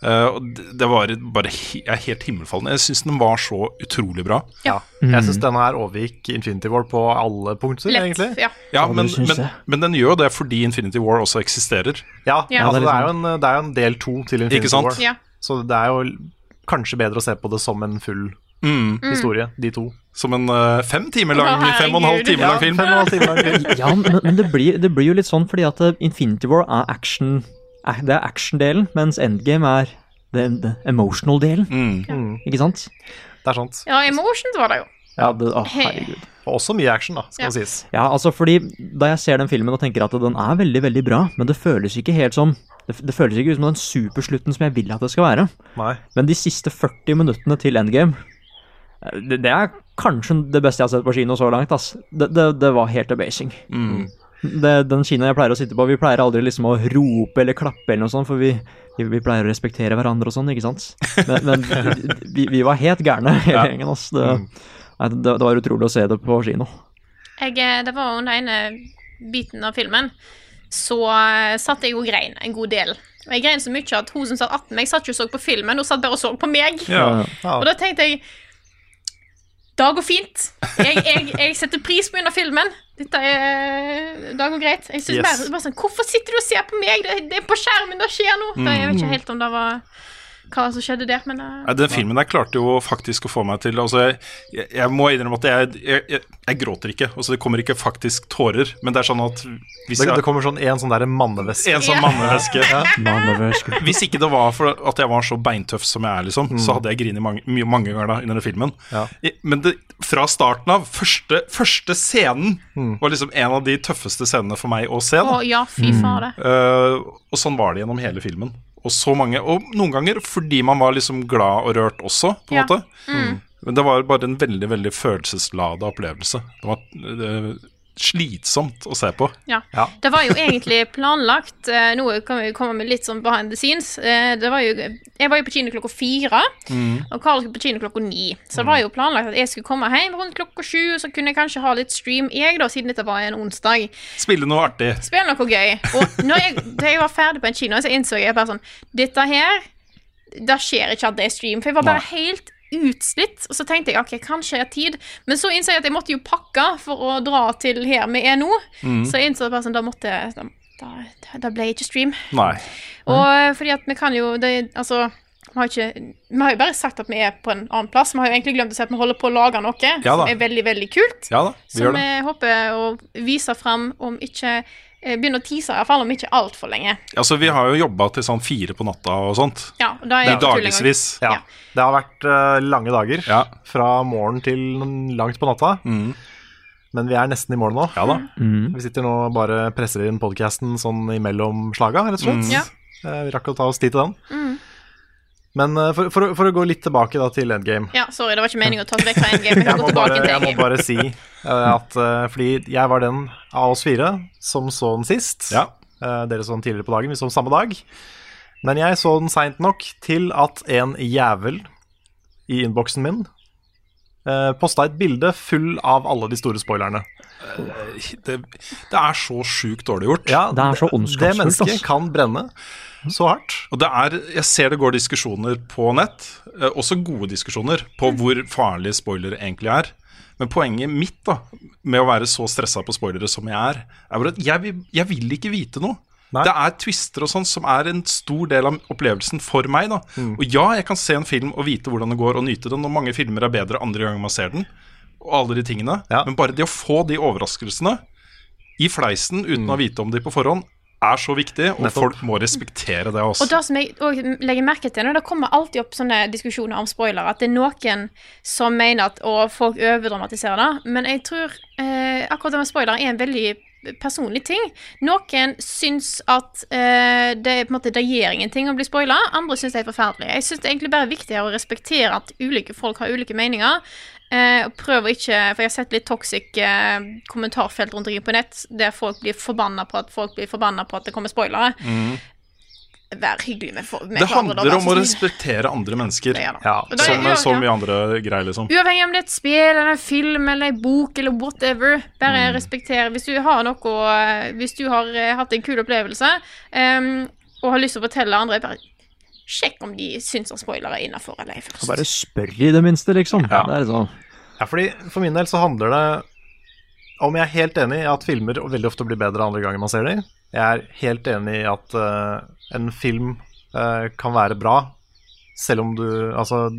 [SPEAKER 2] Eh, og det- det var bare he- jeg er helt himmelfallende. Jeg syns den var så utrolig bra.
[SPEAKER 3] Ja. Jeg
[SPEAKER 2] Mm.
[SPEAKER 3] syns denne her overgikk Infinity War på alle punkter, egentlig.
[SPEAKER 1] Lett. Ja.
[SPEAKER 2] Ja, men,
[SPEAKER 4] det syns
[SPEAKER 2] men,
[SPEAKER 4] jeg.
[SPEAKER 2] men den gjør jo det fordi Infinity War også eksisterer.
[SPEAKER 3] Ja,
[SPEAKER 1] Ja.
[SPEAKER 4] Ja,
[SPEAKER 3] altså,
[SPEAKER 4] det er
[SPEAKER 3] det, er jo en, det er jo en del to til
[SPEAKER 2] liksom- Ikke
[SPEAKER 3] Infinity
[SPEAKER 2] sant?
[SPEAKER 3] War.
[SPEAKER 1] Ja.
[SPEAKER 3] Så det er jo l- kanskje bedre å se på det som en full
[SPEAKER 2] Mm.
[SPEAKER 1] Mm.
[SPEAKER 3] historie, de to.
[SPEAKER 2] Som en eh, fem timer lang,
[SPEAKER 1] Å,
[SPEAKER 2] fem og en halv
[SPEAKER 1] herregud.
[SPEAKER 2] time lang film.
[SPEAKER 3] Fem og en halv time lang film.
[SPEAKER 4] Ja, men, men det, blir, det blir jo litt sånn fordi at eh, Infinity War er action er- Det er action-delen, mens Endgame er den den emotional-delen. Ikke sant?
[SPEAKER 3] Det er sant.
[SPEAKER 1] ja, Emotions var det jo.
[SPEAKER 4] Mm. Ja, det, å,
[SPEAKER 1] Hei.
[SPEAKER 4] herregud.
[SPEAKER 3] Og også mye action, da, skal
[SPEAKER 1] Ja.
[SPEAKER 3] det sies.
[SPEAKER 4] Ja, altså fordi da jeg ser den filmen og tenker at den er veldig, veldig bra, men det føles ikke helt som Det, det føles ikke ut som den superslutten som jeg vil at det skal være.
[SPEAKER 3] Nei.
[SPEAKER 4] Men de siste 40 minuttene til Endgame eh, Det, det er kanskje det beste jeg har sett på kino så langt. Ass. Det, det, det var helt amazing. Det, den kina jeg pleier å sitte på, vi pleier aldri liksom å rope eller klappe eller noe sånt, for vi, vi, vi pleier å respektere hverandre og sånn, ikke sant? Men, men vi, vi var helt gærne hele gjengen, ass. Det, nei, det, det var utrolig å se det på kino.
[SPEAKER 1] Jeg, eh, det var under ene biten av filmen, så eh, satt jeg og grein en god del. Og jeg grein så mye at hun som satt attmed meg, satt ikke og så på filmen, hun satt bare og så på meg.
[SPEAKER 2] Ja.
[SPEAKER 1] Og da tenkte jeg Det går fint. Jeg, jeg, jeg setter pris på under filmen. Dette er Det går greit. Jeg synes
[SPEAKER 2] Yes.
[SPEAKER 1] bare, bare sånn Hvorfor sitter du og ser på meg? Det, det er på skjermen, det skjer noe. Da, jeg vet
[SPEAKER 2] Mm.
[SPEAKER 1] ikke helt om det var hva som skjedde der, men eh,
[SPEAKER 2] Nei, Den filmen der klarte jo faktisk å få meg til altså Jeg, jeg, jeg må innrømme at jeg, jeg, jeg, jeg gråter ikke. Altså Det kommer ikke faktisk tårer, men det er sånn at hvis
[SPEAKER 3] Det, det
[SPEAKER 2] jeg,
[SPEAKER 3] kommer sånn en sånn der manneveske.
[SPEAKER 2] En
[SPEAKER 1] Ja.
[SPEAKER 2] sånn manneveske
[SPEAKER 4] Manneversk.
[SPEAKER 2] Hvis ikke det var for at jeg var så beintøff som jeg er, liksom, så hadde jeg grinet mange, mye- mange ganger da i denne filmen.
[SPEAKER 3] Ja.
[SPEAKER 2] I- Men det, fra starten av, første, første scenen var liksom en av de tøffeste scenene for meg å se.
[SPEAKER 1] Å
[SPEAKER 2] Da.
[SPEAKER 1] ja, fy
[SPEAKER 2] Mm.
[SPEAKER 1] fader.
[SPEAKER 2] Eh, og sånn var det gjennom hele filmen. Og så mange, og noen ganger fordi man var liksom glad og rørt også, på en
[SPEAKER 1] Ja. Mm.
[SPEAKER 2] måte. Men det var bare en veldig veldig følelseslada opplevelse. Det var eh, slitsomt å se på.
[SPEAKER 1] Ja.
[SPEAKER 3] Ja.
[SPEAKER 1] Det var jo egentlig planlagt eh, Nå kan vi komme med litt sånn behind the scenes. Eh, det var jo, jeg var jo på kino klokka fire, og Karl skulle på kino klokka ni. Så det var jo planlagt at jeg skulle komme hjem rundt klokka sju, og så kunne jeg kanskje ha litt stream, jeg, da, siden dette var en onsdag.
[SPEAKER 2] Spille noe artig.
[SPEAKER 1] Spill noe gøy. Og når jeg, da jeg var ferdig på en kino, så innså jeg bare sånn Dette her Det skjer ikke at det er stream. For jeg var bare helt utslitt. Og så tenkte jeg OK, kanskje jeg har tid. Men så innså jeg at jeg måtte jo pakke for å dra til her vi er nå.
[SPEAKER 2] Mm.
[SPEAKER 1] Så jeg innså bare sånn Da måtte jeg da, da, da ble jeg ikke stream.
[SPEAKER 2] Nei.
[SPEAKER 1] Og fordi at vi kan jo det, Altså vi har, ikke, vi har jo bare sagt at vi er på en annen plass. Vi har jo egentlig glemt å si at vi holder på å lage noe
[SPEAKER 2] Ja da.
[SPEAKER 1] som er veldig, veldig kult.
[SPEAKER 2] Ja da, vi
[SPEAKER 1] Som
[SPEAKER 2] gjør det.
[SPEAKER 1] jeg håper å vise fram om ikke eh, Begynne å tease, iallfall om ikke altfor lenge.
[SPEAKER 2] Altså, vi har jo jobba til sånn fire på natta og sånt.
[SPEAKER 1] Ja, og da
[SPEAKER 2] I
[SPEAKER 1] er jeg på tull en gang.
[SPEAKER 2] dagevis.
[SPEAKER 3] Ja.
[SPEAKER 1] Ja.
[SPEAKER 3] Det har vært eh, lange dager.
[SPEAKER 2] Ja. Mm.
[SPEAKER 3] Fra morgen til langt på natta. Men vi er nesten i mål nå.
[SPEAKER 2] Ja da.
[SPEAKER 3] Vi sitter nå og bare presser inn podkasten sånn imellom slaga, rett og slett.
[SPEAKER 1] Mm. Ja. Mm.
[SPEAKER 3] Eh, Vi rakk å ta oss tid til den. Men eh, for, for, å- for å gå litt tilbake da til endgame.
[SPEAKER 1] Ja, sorry, det var ikke meningen å ta oss vekk fra en game. Vi
[SPEAKER 3] Jeg
[SPEAKER 1] kan
[SPEAKER 3] må
[SPEAKER 1] gå tilbake
[SPEAKER 3] bare,
[SPEAKER 1] til
[SPEAKER 3] jeg
[SPEAKER 1] en
[SPEAKER 3] må
[SPEAKER 1] game.
[SPEAKER 3] bare si eh, at eh, fordi jeg var den av oss fire som så den sist.
[SPEAKER 2] Ja.
[SPEAKER 3] Eh, dere så den tidligere på dagen, vi så den samme dag. Men jeg så den seint nok til at en jævel i innboksen min uh, posta et bilde full av alle de store spoilerne.
[SPEAKER 2] Det, det er så sjukt dårlig gjort.
[SPEAKER 3] Ja,
[SPEAKER 4] Det er så ondskapsfullt,
[SPEAKER 3] Det mennesket
[SPEAKER 4] ass.
[SPEAKER 3] kan brenne så hardt.
[SPEAKER 2] Og det er, jeg ser det går diskusjoner på nett, eh, også gode diskusjoner, på
[SPEAKER 3] Mm.
[SPEAKER 2] hvor farlige spoilere egentlig er. Men poenget mitt da, med å være så stressa på spoilere som jeg er, er bare at jeg, vil- jeg vil ikke vite noe.
[SPEAKER 3] Nei.
[SPEAKER 2] Det er twister og sånn som er en stor del av opplevelsen for meg. da.
[SPEAKER 3] Mm.
[SPEAKER 2] Og ja, jeg kan se en film og vite hvordan det går og nyte den, og mange filmer er bedre andre gang man ser den, og alle de tingene.
[SPEAKER 3] Ja.
[SPEAKER 2] Men bare det å få de overraskelsene i fleisen uten å vite om de på forhånd, er så viktig, og
[SPEAKER 3] Mm. Nettopp.
[SPEAKER 2] folk må respektere det også.
[SPEAKER 1] Og det som jeg også legger merke til, nå, det kommer alltid opp sånne diskusjoner om spoilere, at det er noen som mener at å, folk overdramatiserer det, men jeg tror eh, akkurat det med spoiler er en veldig personlig ting. Noen syns at eh, det, er på en måte, det gjør ingenting å bli spoila, andre syns det er forferdelig. Jeg syns det er egentlig bare viktigere å respektere at ulike folk har ulike meninger. Eh, og prøv å ikke For jeg har sett litt toxic eh, kommentarfelt rundt omkring på nett, der folk blir forbanna på at folk blir forbanna på at det kommer spoilere. Vær hyggelig med, fo- med
[SPEAKER 2] Mm. Det
[SPEAKER 1] hverandre, da.
[SPEAKER 2] handler
[SPEAKER 1] Vær
[SPEAKER 2] om å
[SPEAKER 1] så snill.
[SPEAKER 2] respektere andre mennesker.
[SPEAKER 1] Det gjør det.
[SPEAKER 3] Ja,
[SPEAKER 1] Og da-
[SPEAKER 2] Som
[SPEAKER 1] ja,
[SPEAKER 2] med så
[SPEAKER 1] ja.
[SPEAKER 2] mye andre greier, liksom.
[SPEAKER 1] Uavhengig om det er et spill eller en film eller en bok eller whatever, bare
[SPEAKER 2] Mm.
[SPEAKER 1] respekter Hvis du har noe eh, Hvis du har eh, hatt en kul opplevelse em, og har lyst til å fortelle andre, bare sjekk om de syns at spoilere er innafor eller ei først.
[SPEAKER 4] Bare spør i det minste, liksom.
[SPEAKER 3] Ja.
[SPEAKER 4] Det er liksom
[SPEAKER 3] Ja, fordi For min del så handler det om jeg er helt enig i at filmer veldig ofte blir bedre andre gangen man ser dem. Jeg er helt enig i at eh, en film eh, kan være bra, selv om du Altså,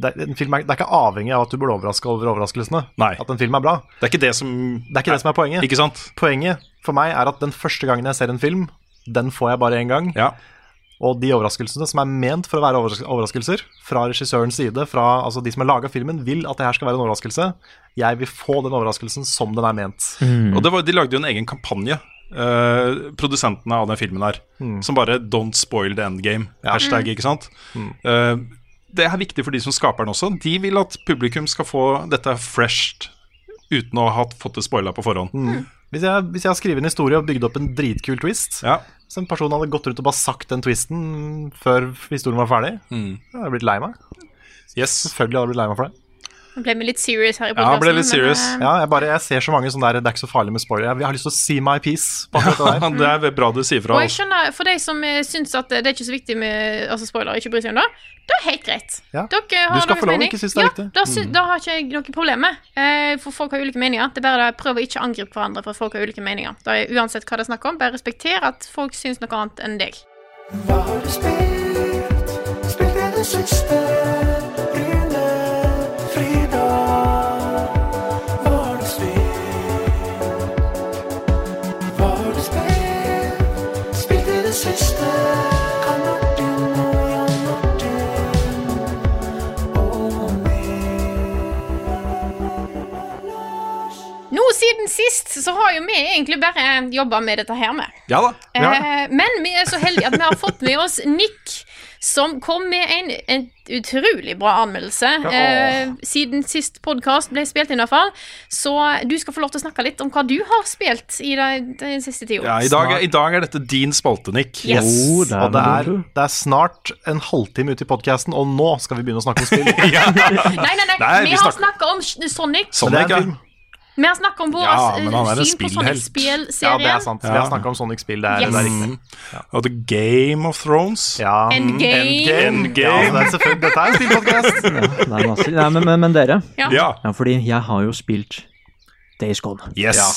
[SPEAKER 3] det, er- en film er, det er ikke avhengig av at du blir overraska over overraskelsene.
[SPEAKER 2] Nei.
[SPEAKER 3] At en film er bra.
[SPEAKER 2] Det er ikke det som
[SPEAKER 3] Det er ikke det som er poenget.
[SPEAKER 2] Ikke sant?
[SPEAKER 3] Poenget for meg er at den første gangen jeg ser en film, den får jeg bare én gang.
[SPEAKER 2] Ja.
[SPEAKER 3] Og de overraskelsene som er ment for å være overras- overraskelser, fra regissørens side, fra altså de som har laga filmen, vil at det her skal være en overraskelse. Jeg vil få den overraskelsen som den er ment.
[SPEAKER 4] Mm.
[SPEAKER 2] Og det var, de lagde jo en egen kampanje, eh, produsentene av den filmen her, som bare 'Don't spoil the endgame'. Hashtag, ikke sant? Eh, det er viktig for de som skaper den også. De vil at publikum skal få dette fresht uten å ha fått det spoila på forhånd.
[SPEAKER 3] Hvis jeg, hvis jeg har skrevet en historie og bygd opp en dritkul twist
[SPEAKER 2] Ja.
[SPEAKER 3] Hvis en person hadde gått rundt og bare sagt den twisten før historien var ferdig,
[SPEAKER 4] Mm.
[SPEAKER 3] da hadde jeg blitt lei meg.
[SPEAKER 2] Yes.
[SPEAKER 3] Selvfølgelig hadde jeg blitt lei meg for det.
[SPEAKER 1] Nå ble vi litt serious her i eh,
[SPEAKER 2] Ja,
[SPEAKER 1] podkasten.
[SPEAKER 2] ble litt serious.
[SPEAKER 3] Ja, jeg, bare, jeg ser så mange sånne der 'det er ikke så farlig med spoiler'. Jeg, jeg har lyst til å see my piece. På akkurat det der.
[SPEAKER 2] Det er bra du sier fra.
[SPEAKER 1] Og jeg
[SPEAKER 2] altså.
[SPEAKER 1] skjønner, for de som eh, syns at det er ikke så viktig med altså spoiler, ikke bryr seg om det, det er helt greit.
[SPEAKER 3] Ja.
[SPEAKER 1] Dere har
[SPEAKER 3] Du skal
[SPEAKER 1] deres
[SPEAKER 3] få lov å
[SPEAKER 1] mening.
[SPEAKER 3] ikke Mm. synes det er
[SPEAKER 1] ja,
[SPEAKER 3] viktig.
[SPEAKER 1] Da, sy da har ikke jeg noe problem med. Eh, for folk har ulike meninger. Det er bare det, Prøv å ikke angripe hverandre for at folk har ulike meninger. Da er Uansett hva det er snakk om, bare respekter at folk syns noe annet enn deg. Nå siden sist så har jo vi egentlig bare jobba med dette her med.
[SPEAKER 2] Ja da. Ja.
[SPEAKER 1] Eh, men vi er så heldige at vi har fått med oss Nick, som kom med en, en utrolig bra anmeldelse. Eh, siden sist podkast ble spilt inn, i hvert fall. Så du skal få lov til å snakke litt om hva du har spilt i de- den siste tida.
[SPEAKER 2] Ja, i, dag, I dag er dette din spalte, Nick.
[SPEAKER 1] Yes.
[SPEAKER 4] Jo, Oh, det
[SPEAKER 3] Og
[SPEAKER 4] er
[SPEAKER 3] det
[SPEAKER 4] noe,
[SPEAKER 3] er,
[SPEAKER 4] tror du.
[SPEAKER 3] det er snart en halvtime ute i podkasten, og nå skal vi begynne å snakke om spill. Men
[SPEAKER 1] Nei, nei, nei,
[SPEAKER 2] Nei, vi
[SPEAKER 1] vi har
[SPEAKER 2] snakker-
[SPEAKER 1] snakka om S- Sonic.
[SPEAKER 2] Sånn,
[SPEAKER 3] det
[SPEAKER 4] Oh
[SPEAKER 3] er
[SPEAKER 2] Nick, ja.
[SPEAKER 3] film.
[SPEAKER 1] Vi har snakka om vår
[SPEAKER 2] Ja, men han
[SPEAKER 1] eh,
[SPEAKER 2] er en
[SPEAKER 1] syn på
[SPEAKER 2] spillhelt.
[SPEAKER 3] Ja, det er
[SPEAKER 1] Sonic-spillserien.
[SPEAKER 3] sant. Vi har snakka om Sonic-spill. Det er, det
[SPEAKER 1] Yes.
[SPEAKER 3] er riktig.
[SPEAKER 2] Og The Game of Thrones.
[SPEAKER 3] Ja. Mm.
[SPEAKER 1] Endgame.
[SPEAKER 2] Mm, Endgame.
[SPEAKER 3] Ja, så det er selvfølgelig, dette er en spillpodkast.
[SPEAKER 4] Nei, masse- Nei, men, men, men dere
[SPEAKER 2] Ja.
[SPEAKER 4] Ja, fordi jeg har jo spilt Days Gone.
[SPEAKER 2] Yes.
[SPEAKER 3] Ja.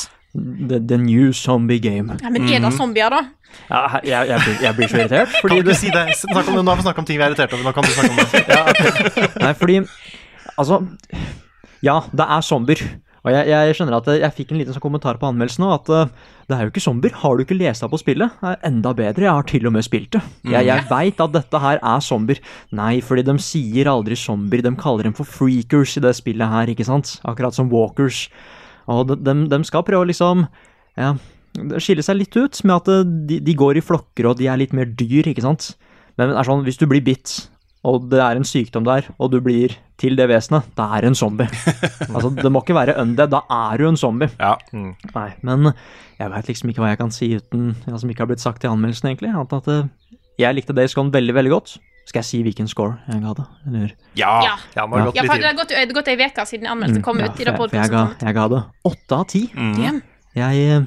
[SPEAKER 4] The, the new zombie game.
[SPEAKER 1] Ja, men
[SPEAKER 2] Mm.
[SPEAKER 1] er det zombier, da?
[SPEAKER 4] Ah, Ja, he- jeg, jeg, blir, jeg blir så irritert. Fordi
[SPEAKER 3] Kan du
[SPEAKER 4] det,
[SPEAKER 3] ikke si det? Snakk om det. Nå har vi snakka om ting vi er irritert over. Nå kan du snakke om det.
[SPEAKER 4] nei, fordi Altså, ja, det er zombier. Og jeg, jeg skjønner at jeg fikk en liten sånn kommentar på anmeldelsen nå, at eh, det er jo ikke zombier. Har du ikke lest deg på spillet? Det er enda bedre, jeg har til og med spilt det. Jeg, jeg veit at dette her er zombier. Nei, fordi de sier aldri zombier, de kaller dem for freakers i det spillet her, ikke sant? Akkurat som walkers. Og de, de, de skal prøve å liksom ja, det skiller seg litt ut med at eh, de, de går i flokker, og de er litt mer dyr, ikke sant? Men det er sånn, hvis du blir bitt, og det er en sykdom der, og du blir til det vesenet, da er du en zombie. Altså, det må ikke være undead, da er du en zombie.
[SPEAKER 2] Ja.
[SPEAKER 4] Nei, men jeg veit liksom ikke hva jeg kan si uten ja, som ikke har blitt sagt i anmeldelsen, egentlig. Annet enn at eh, jeg likte Days Gone veldig, veldig godt. Skal jeg si hvilken score jeg ga det? Eller?
[SPEAKER 2] Ja.
[SPEAKER 1] Ja.
[SPEAKER 3] Ja, nå har det
[SPEAKER 1] Ja, for
[SPEAKER 3] gått litt
[SPEAKER 1] det
[SPEAKER 3] tid.
[SPEAKER 1] har gått, det har gått ei uke siden anmeldelsen kom
[SPEAKER 4] Mm. Ja,
[SPEAKER 1] ut. i
[SPEAKER 4] for
[SPEAKER 1] Altså,
[SPEAKER 4] jeg, for
[SPEAKER 1] det
[SPEAKER 4] jeg, Mm. ga,
[SPEAKER 1] podcasten.
[SPEAKER 4] jeg ga det åtte av ti.
[SPEAKER 1] Damn.
[SPEAKER 4] Jeg eh,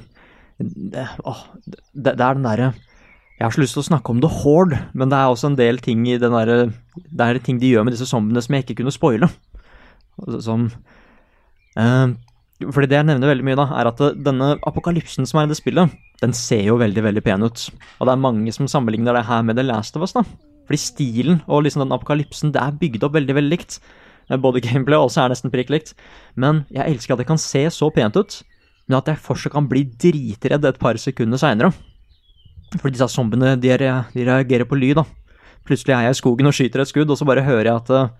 [SPEAKER 4] det, åh, det, det er den derre Jeg har så lyst til å snakke om The Horde, men det er også en del ting i den derre Det er ting de gjør med disse zombiene som jeg ikke kunne spoile. Altså, Som eh, Fordi det jeg nevner veldig mye, da, er at eh, denne apokalypsen som er i det spillet, den ser jo veldig, veldig pen ut. Og det er mange som sammenligner det her med The Last of Us, da. Fordi stilen og liksom den apokalypsen, det er bygd opp veldig, veldig likt. Eh, Både gameplay og også er nesten prikk likt. Men jeg elsker at det kan se så pent ut men at jeg fortsatt kan bli dritredd et par sekunder seinere. For disse zombiene de, re- de reagerer på lyd, da. Plutselig er jeg i skogen og skyter et skudd, og så bare hører jeg at eh,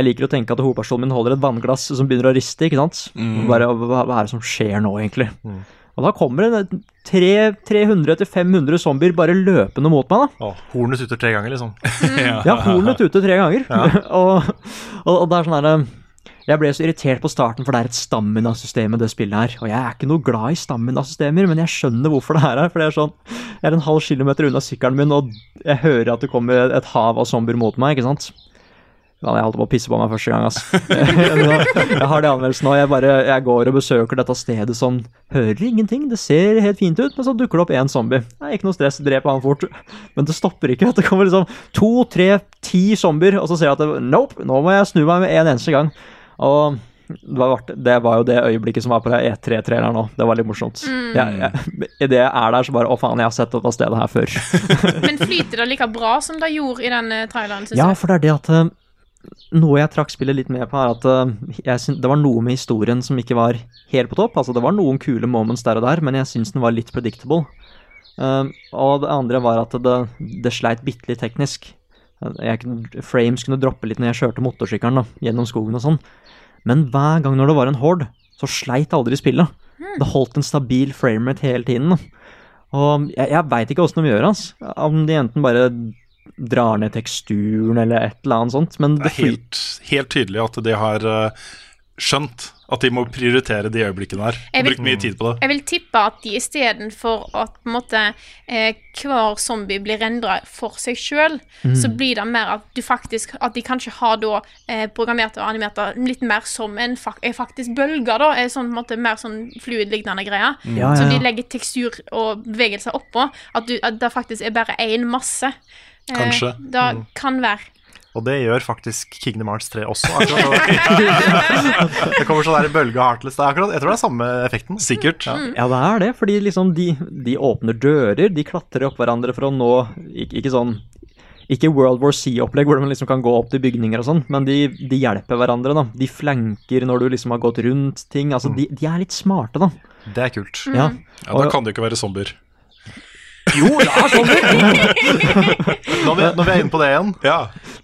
[SPEAKER 4] Jeg liker å tenke at hovedpersonen min holder et vannglass som begynner å riste, ikke sant? Og Bare, hva, hva er det som skjer nå, egentlig? Og da kommer det en- tre- 300-500 zombier bare løpende mot meg, da.
[SPEAKER 3] Å, Hornet sutter tre ganger, liksom.
[SPEAKER 1] Mm.
[SPEAKER 4] Ja, hornet ute tre ganger. og, og, og det er sånn der Jeg ble så irritert på starten, for det er et stamina-system i det spillet her. Og jeg er ikke noe glad i stamina-systemer, men jeg skjønner hvorfor det er her. For det er sånn Jeg er en halv kilometer unna sykkelen min, og jeg hører at det kommer et hav av zombier mot meg, ikke sant? Ja, jeg holdt på å pisse på meg første gang, ass. Men jeg har det i anmeldelsen nå. Jeg bare jeg går og besøker dette stedet som hører ingenting. Det ser helt fint ut, men så dukker det opp én zombie. Nei, ikke noe stress, drep han fort. Men det stopper ikke. Det kommer liksom to, tre, ti zombier, og så ser jeg at det, nope, nå må jeg snu meg med en eneste gang. Og det var, det var jo det øyeblikket som var på E3-traileren nå. Det var litt morsomt. Jeg, jeg, Idet jeg er der, så bare Å, faen, jeg har sett dette stedet her før.
[SPEAKER 1] Men flyter det like bra som det gjorde i den eh, traileren? Synes
[SPEAKER 4] Ja,
[SPEAKER 1] jeg?
[SPEAKER 4] for det er det at eh, Noe jeg trakk spillet litt med på, er at eh, jeg syn- det var noe med historien som ikke var helt på topp. Altså, det var noen kule moments der og der, men jeg syns den var litt predictable. Eh, og det andre var at det, det sleit bitte litt teknisk. Eh, Jeg kunne, frames kunne droppe litt når jeg kjørte motorsykkelen da, gjennom skogen og sånn. Men hver gang når det var en horde, så sleit aldri spillet. Det holdt en stabil framerate hele tiden. Da. Og jeg, jeg veit ikke åssen de gjør, altså. Om de enten bare drar ned teksturen eller et eller annet sånt. Men
[SPEAKER 2] Det
[SPEAKER 4] det
[SPEAKER 2] er
[SPEAKER 4] flyter
[SPEAKER 2] helt, helt tydelig at de har eh, skjønt At de må prioritere de øyeblikkene her.
[SPEAKER 1] Jeg vil-
[SPEAKER 2] Brukt mye tid på det.
[SPEAKER 1] Jeg vil tippe at de istedenfor at på en måte, eh, hver zombie blir rendra for seg sjøl, så blir det mer at du faktisk At de kanskje har da eh, programmert og animert det litt mer som en fak eh, faktisk bølger, da. eh, Sånn, på en måte, mer sånn fluid-lignende greier.
[SPEAKER 4] Ja,
[SPEAKER 1] Som
[SPEAKER 4] ja,
[SPEAKER 1] de
[SPEAKER 4] ja.
[SPEAKER 1] legger tekstur og bevegelser oppå. At, du, at det faktisk er bare én masse. Eh,
[SPEAKER 2] Kanskje.
[SPEAKER 1] Det
[SPEAKER 4] Mm.
[SPEAKER 1] kan være.
[SPEAKER 3] Og det gjør faktisk Kingdom Hearts 3 også. Akkurat. nå. det kommer sånn der bølge av Heartless. Det er akkurat, jeg tror det er samme effekten.
[SPEAKER 2] Sikkert. Mm.
[SPEAKER 4] Ja, det er det, fordi liksom de, de åpner dører, de klatrer opp hverandre for å nå Ikke, ikke sånn Ikke World War Sea-opplegg hvor man liksom kan gå opp til bygninger og sånn, men de, de hjelper hverandre, da. De flanker når du liksom har gått rundt ting. Altså, de, de er litt smarte, da.
[SPEAKER 3] Det er kult.
[SPEAKER 4] Ja.
[SPEAKER 2] Mm. Ja, da kan det jo ikke være zombier.
[SPEAKER 3] Jo, det er sånn! når, vi, når vi er inne på det igjen,
[SPEAKER 2] Mm. Ja.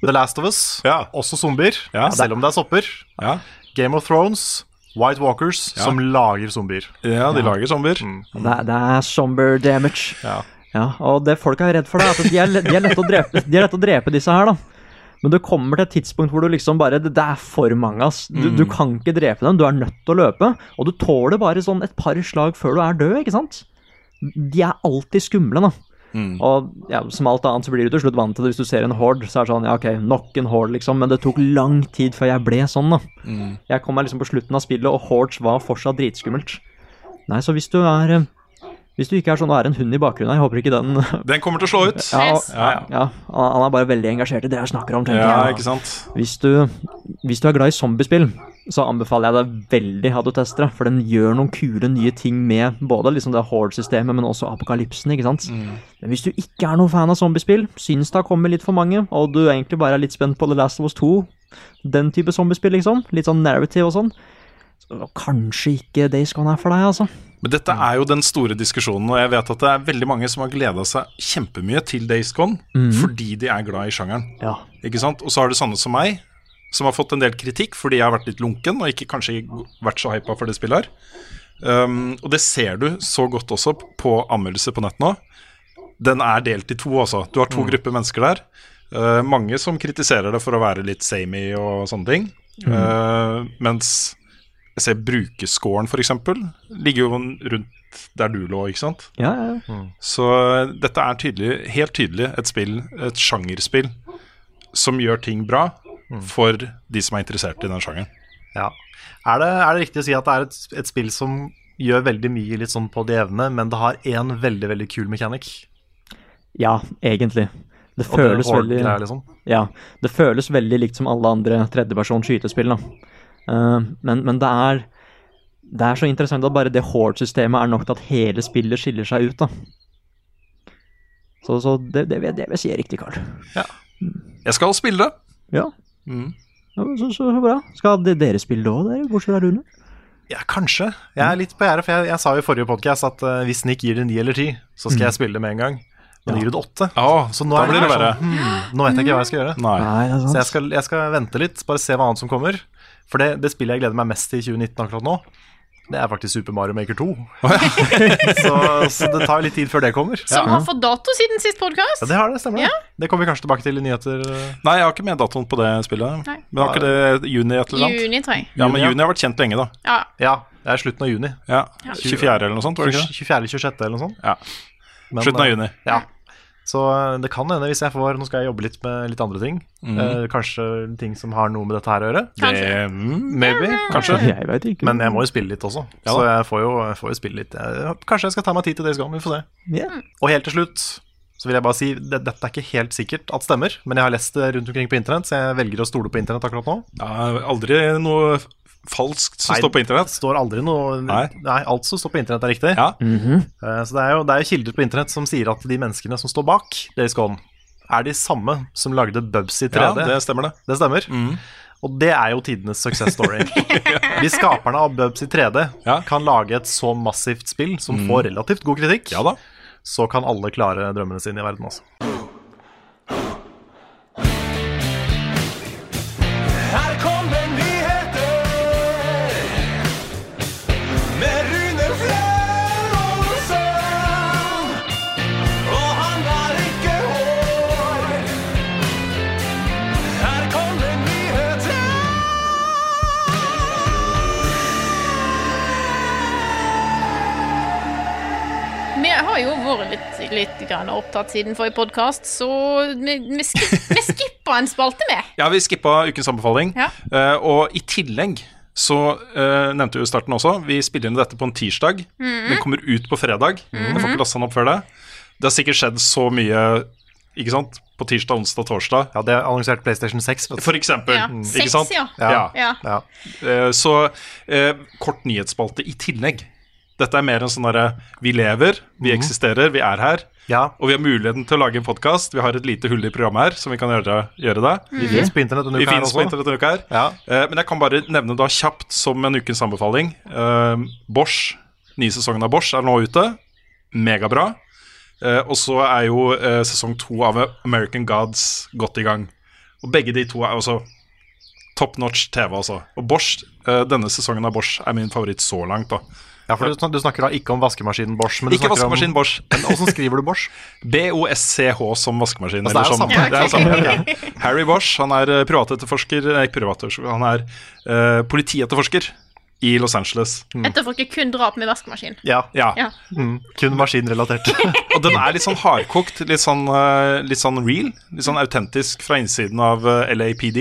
[SPEAKER 3] The Last of Us,
[SPEAKER 2] Ja.
[SPEAKER 3] også zombier,
[SPEAKER 2] Ja.
[SPEAKER 3] selv om det er sopper.
[SPEAKER 2] Ja,
[SPEAKER 3] Game of Thrones, White Walkers,
[SPEAKER 2] Ja.
[SPEAKER 3] som lager zombier.
[SPEAKER 2] ja Mm. de lager zombier.
[SPEAKER 4] Mm. Det, er- det er somber damage.
[SPEAKER 3] Ja.
[SPEAKER 4] Ja, og det folk er redd for, det er at de er, le- de er lette å drepe, de er lett å drepe disse her, da. Men du kommer til et tidspunkt hvor du liksom bare Det det er for mange, ass. Du, du kan ikke drepe dem, du er nødt til å løpe. Og du tåler bare sånn et par slag før du er død, ikke sant? De er alltid skumle, da. Og ja, som alt annet så blir du til slutt vant til det. Hvis du ser en horde, så er det sånn ja, ok, nok en horde, liksom. Men det tok lang tid før jeg ble sånn, da. Jeg kom meg liksom på slutten av spillet, og hordes var fortsatt dritskummelt. Nei, så hvis du er eh, Hvis du ikke er sånn og er en hund i bakgrunnen, jeg håper ikke den
[SPEAKER 2] Den kommer til å slå ut.
[SPEAKER 4] ja, og,
[SPEAKER 1] Yes.
[SPEAKER 2] Ja, ja.
[SPEAKER 4] ja, han han er bare veldig engasjert i det jeg snakker om. tenker
[SPEAKER 2] ja
[SPEAKER 4] jeg.
[SPEAKER 2] ikke sant.
[SPEAKER 4] Hvis, du, hvis du er glad i zombiespill, så anbefaler jeg deg veldig at du tester det. For den gjør noen kule nye ting med både liksom det horde-systemet, men også apokalypsen. ikke sant?
[SPEAKER 2] Mm.
[SPEAKER 4] Men hvis du ikke er noen fan av zombiespill, syns det har kommet litt for mange, og du egentlig bare er litt spent på The Last of Us 2, den type zombiespill, liksom, litt sånn narrative og sånn, så kanskje ikke Days Gone er for deg, altså.
[SPEAKER 2] Men dette er jo den store diskusjonen, og jeg vet at det er veldig mange som har gleda seg kjempemye til Days Gone fordi de er glad i sjangeren.
[SPEAKER 4] Ja.
[SPEAKER 2] Ikke sant? Og så har du sånne som meg, som har fått en del kritikk fordi jeg har vært litt lunken og ikke kanskje vært så hypa for det spillet her. Um, og det ser du så godt også på anmeldelser på nett nå. Den er delt i to, altså. Du har to grupper mennesker der. Uh, mange som kritiserer det for å være litt samey og sånne ting. Uh, mens jeg ser brukerscoren, f.eks., ligger jo rundt der du lå, ikke sant.
[SPEAKER 4] Ja, ja, ja.
[SPEAKER 2] Så eh, dette er tydelig, helt tydelig et spill, et sjangerspill, som gjør ting bra
[SPEAKER 3] Mm.
[SPEAKER 2] for de som er interessert i den sjangeren.
[SPEAKER 3] Ja. Er, det, er det riktig å si at det er et, et spill som gjør veldig mye litt sånn på det jevne, men det har én veldig veldig kul mekanikk?
[SPEAKER 4] ja egentlig. Det
[SPEAKER 3] Og det
[SPEAKER 4] føles
[SPEAKER 3] horde-
[SPEAKER 4] veldig
[SPEAKER 3] greier, liksom.
[SPEAKER 4] Ja, det føles veldig likt som alle andre tredjeperson skytespill, da. Eh, men, men det er det er så interessant at bare det horde-systemet er nok til at hele spillet skiller seg ut, da. Så, så det, det, vil- det vil jeg si er riktig, Carl.
[SPEAKER 2] Jeg skal spille det.
[SPEAKER 4] Ja.
[SPEAKER 3] Mm.
[SPEAKER 4] ja men så, så bra. Skal de- dere spille det òg, dere? Bortsett fra Rune?
[SPEAKER 3] Ja, kanskje. Jeg er litt på gjerdet, for jeg, jeg sa jo i forrige podkast at eh, hvis Nick gir det ni eller ti, så skal
[SPEAKER 4] Mm.
[SPEAKER 3] jeg spille det med en gang. Men gir du det åtte,
[SPEAKER 2] Ja,
[SPEAKER 3] så nå
[SPEAKER 2] da
[SPEAKER 3] er
[SPEAKER 2] blir det
[SPEAKER 3] her
[SPEAKER 2] verre.
[SPEAKER 3] sånn, hmm, nå vet jeg ikke hva jeg skal gjøre.
[SPEAKER 2] Nei.
[SPEAKER 4] Nei, det er
[SPEAKER 3] Så jeg
[SPEAKER 4] sant.
[SPEAKER 3] skal, jeg skal vente litt, bare se hva annet som kommer. For det, det spillet jeg gleder meg mest til i 2019 akkurat nå, det er faktisk Super Mario Maker 2. så, så det tar litt tid før det kommer. Ja,
[SPEAKER 1] Som har fått dato siden sist podkast.
[SPEAKER 3] det har det, stemmer det. Det kommer vi kanskje tilbake til i nyheter. eh,
[SPEAKER 2] Nei, jeg har ikke med datoen på det spillet.
[SPEAKER 1] Nei.
[SPEAKER 2] Men har ikke det juni et eller annet?
[SPEAKER 1] Juni, tror jeg.
[SPEAKER 2] Ja, men
[SPEAKER 3] Juni, ja.
[SPEAKER 2] juni har vært kjent lenge, da.
[SPEAKER 1] Ja.
[SPEAKER 3] Ja, det er slutten av juni.
[SPEAKER 2] Ja, 24. eller noe sånt, var det ikke det?
[SPEAKER 3] 24.-26. eller noe sånt.
[SPEAKER 2] Ja.
[SPEAKER 3] Men,
[SPEAKER 2] Slutten av
[SPEAKER 3] eh,
[SPEAKER 2] juni.
[SPEAKER 3] Ja. Så eh, det kan hende hvis jeg får Nå skal jeg jobbe litt med litt andre ting.
[SPEAKER 2] Mhm.
[SPEAKER 3] Eh, kanskje ting som har noe med dette her å gjøre.
[SPEAKER 1] Kanskje.
[SPEAKER 2] Eh, mm, maybe, kanskje.
[SPEAKER 4] Jeg vet ikke.
[SPEAKER 3] Men jeg må jo spille litt også,
[SPEAKER 2] Ja
[SPEAKER 3] så
[SPEAKER 2] da.
[SPEAKER 3] jeg får jo, jeg får jo spille litt. Jeg, kanskje jeg skal ta meg tid til Days Gone, vi får se.
[SPEAKER 4] Ja.
[SPEAKER 3] Og helt til slutt så vil jeg bare si det, dette er ikke helt sikkert at stemmer, men jeg har lest det rundt omkring på internett, så jeg velger å stole på internett akkurat nå.
[SPEAKER 2] Ja, aldri noe falskt som
[SPEAKER 3] Nei,
[SPEAKER 2] står på internett.
[SPEAKER 3] Det står aldri noe Nei,
[SPEAKER 2] Nei.
[SPEAKER 3] alt som står på internett, er riktig.
[SPEAKER 2] Ja.
[SPEAKER 4] Mhm.
[SPEAKER 3] Eh, Så det er, jo, det er jo kilder på internett som sier at de menneskene som står bak Days Gone, er de samme som lagde Bubs i 3D.
[SPEAKER 2] ja, det Mm. stemmer det.
[SPEAKER 3] Det stemmer. Og det er jo tidenes success story. Hvis skaperne av Bubs i 3D
[SPEAKER 2] Ja. Mm.
[SPEAKER 3] kan lage et så massivt spill som får relativt god kritikk,
[SPEAKER 2] Ja da.
[SPEAKER 3] så kan alle klare drømmene sine i verden, altså.
[SPEAKER 5] Her kommer nyheter!
[SPEAKER 1] Vi har jo vært litt, litt grann opptatt siden forrige podkast, så vi, vi, skip, vi skipper en spalte, vi.
[SPEAKER 2] Ja, vi skippa ukens anbefaling.
[SPEAKER 1] Ja.
[SPEAKER 2] Eh, og i tillegg så eh, nevnte vi jo i starten også, vi spiller inn dette på en tirsdag. Den kommer ut på fredag. Jeg får ikke lasta den opp før det. Det har sikkert skjedd så mye, ikke sant, på tirsdag, onsdag, torsdag.
[SPEAKER 3] Ja, det er annonsert PlayStation 6. Vet du.
[SPEAKER 2] For eksempel.
[SPEAKER 1] Ja,
[SPEAKER 2] Mm.
[SPEAKER 1] seks,
[SPEAKER 2] ikke sant?
[SPEAKER 1] ja.
[SPEAKER 2] Ja.
[SPEAKER 1] Ja.
[SPEAKER 3] Ja.
[SPEAKER 2] Eh, Så eh, kort nyhetsspalte i tillegg. Dette er mer en sånn derre Vi lever, vi
[SPEAKER 3] Mm-hmm.
[SPEAKER 2] eksisterer, vi er her.
[SPEAKER 3] ja.
[SPEAKER 2] Og vi har muligheten til å lage en podkast. Vi har et lite hull i programmet her, som vi kan gjøre, gjøre det.
[SPEAKER 3] Vi finnes på internett denne
[SPEAKER 2] Vi
[SPEAKER 3] uka her
[SPEAKER 2] finnes på
[SPEAKER 3] også.
[SPEAKER 2] internett denne uka her.
[SPEAKER 3] Ja.
[SPEAKER 2] Eh, Men jeg kan bare nevne da kjapt som en ukens anbefaling. Eh, Bosch, nye sesongen av Bosch er nå ute. Megabra. Eh, og så er jo eh, sesong to av American Gods godt i gang. Og begge de to er også top notch TV, altså. Og Bosch, eh, denne sesongen av Bosch er min favoritt så langt, da.
[SPEAKER 3] ja, for du, snak- du snakker da ikke om vaskemaskinen Bosch. Men du
[SPEAKER 2] Ikke
[SPEAKER 3] snakker om-
[SPEAKER 2] vaskemaskin Bosch.
[SPEAKER 3] Men Åssen skriver du Bosch?
[SPEAKER 2] BOSCH som vaskemaskin.
[SPEAKER 3] Altså, det er jo
[SPEAKER 2] eller
[SPEAKER 3] samme.
[SPEAKER 2] sånn. Det er jo samme. ok. Harry Bosch han er eh, privatetterforsker Nei, ikke privatetterforsker, han er eh, politietterforsker i Los Angeles.
[SPEAKER 3] Mm.
[SPEAKER 1] Etterforsker kun drap med vaskemaskin.
[SPEAKER 3] Ja.
[SPEAKER 2] Ja.
[SPEAKER 1] Ja.
[SPEAKER 3] Mm. Kun maskinrelatert.
[SPEAKER 2] Og den er litt sånn hardkokt, litt sånn, eh, litt sånn real. Litt sånn autentisk fra innsiden av eh, LAPD.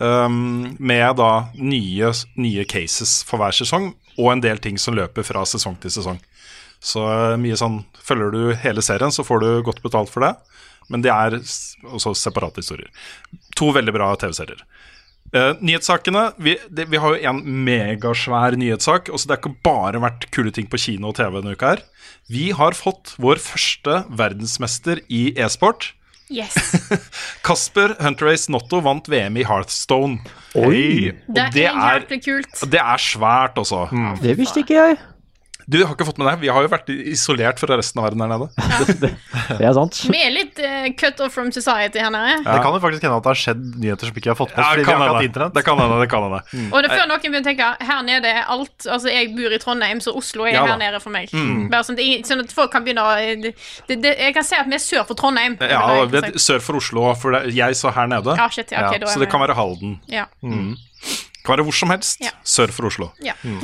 [SPEAKER 2] Um, med da nye, nye cases for hver sesong, og en del ting som løper fra sesong til sesong. Så eh, mye sånn Følger du hele serien, så får du godt betalt for det. Men det er s- også separate historier. To veldig bra TV-serier. Eh, nyhetssakene vi, det, vi har jo en megasvær nyhetssak. Også det har ikke bare vært kule ting på kino og TV denne uka. her Vi har fått vår første verdensmester i e-sport.
[SPEAKER 1] Yes.
[SPEAKER 2] Kasper Hunter-Ace Notto vant VM i Hearthstone.
[SPEAKER 4] Oi.
[SPEAKER 2] Og
[SPEAKER 1] Det,
[SPEAKER 2] det
[SPEAKER 1] er
[SPEAKER 2] er,
[SPEAKER 1] jæklig kult.
[SPEAKER 2] det er svært, altså.
[SPEAKER 4] Det visste ikke jeg.
[SPEAKER 2] Du har ikke fått med deg Vi har jo vært isolert fra resten av verden der nede.
[SPEAKER 4] Det er sant.
[SPEAKER 1] Vi er litt eh, cut off from society her nede.
[SPEAKER 3] Det kan jo faktisk hende at det har skjedd nyheter som ikke vi har fått med oss.
[SPEAKER 2] Ja,
[SPEAKER 3] fordi
[SPEAKER 2] det
[SPEAKER 3] vi
[SPEAKER 2] kan
[SPEAKER 3] har ikke hatt
[SPEAKER 2] hende.
[SPEAKER 3] internett. Mm.
[SPEAKER 2] Det kan hende. Det kan hende.
[SPEAKER 1] Og det er
[SPEAKER 2] Eh.
[SPEAKER 1] før noen begynner å tenke her nede er alt Altså, jeg bor i Trondheim, så Oslo er
[SPEAKER 2] Ja da. Mm.
[SPEAKER 1] her nede for meg. Bare sånn, at ingen- sånn at folk kan begynne å det, det, Jeg kan si at vi er sør for Trondheim. Det er
[SPEAKER 2] Ja,
[SPEAKER 1] det jeg
[SPEAKER 2] og
[SPEAKER 1] kan
[SPEAKER 2] ved,
[SPEAKER 1] si.
[SPEAKER 2] sør for Oslo, for det, jeg så her nede.
[SPEAKER 1] ja, shit, ja, ok, da er
[SPEAKER 2] Så
[SPEAKER 1] vi-
[SPEAKER 2] det kan være Mm. Halden.
[SPEAKER 1] ja.
[SPEAKER 2] Kan være hvor som helst
[SPEAKER 1] Ja.
[SPEAKER 2] sør for Oslo.
[SPEAKER 1] Ja.
[SPEAKER 2] Mm.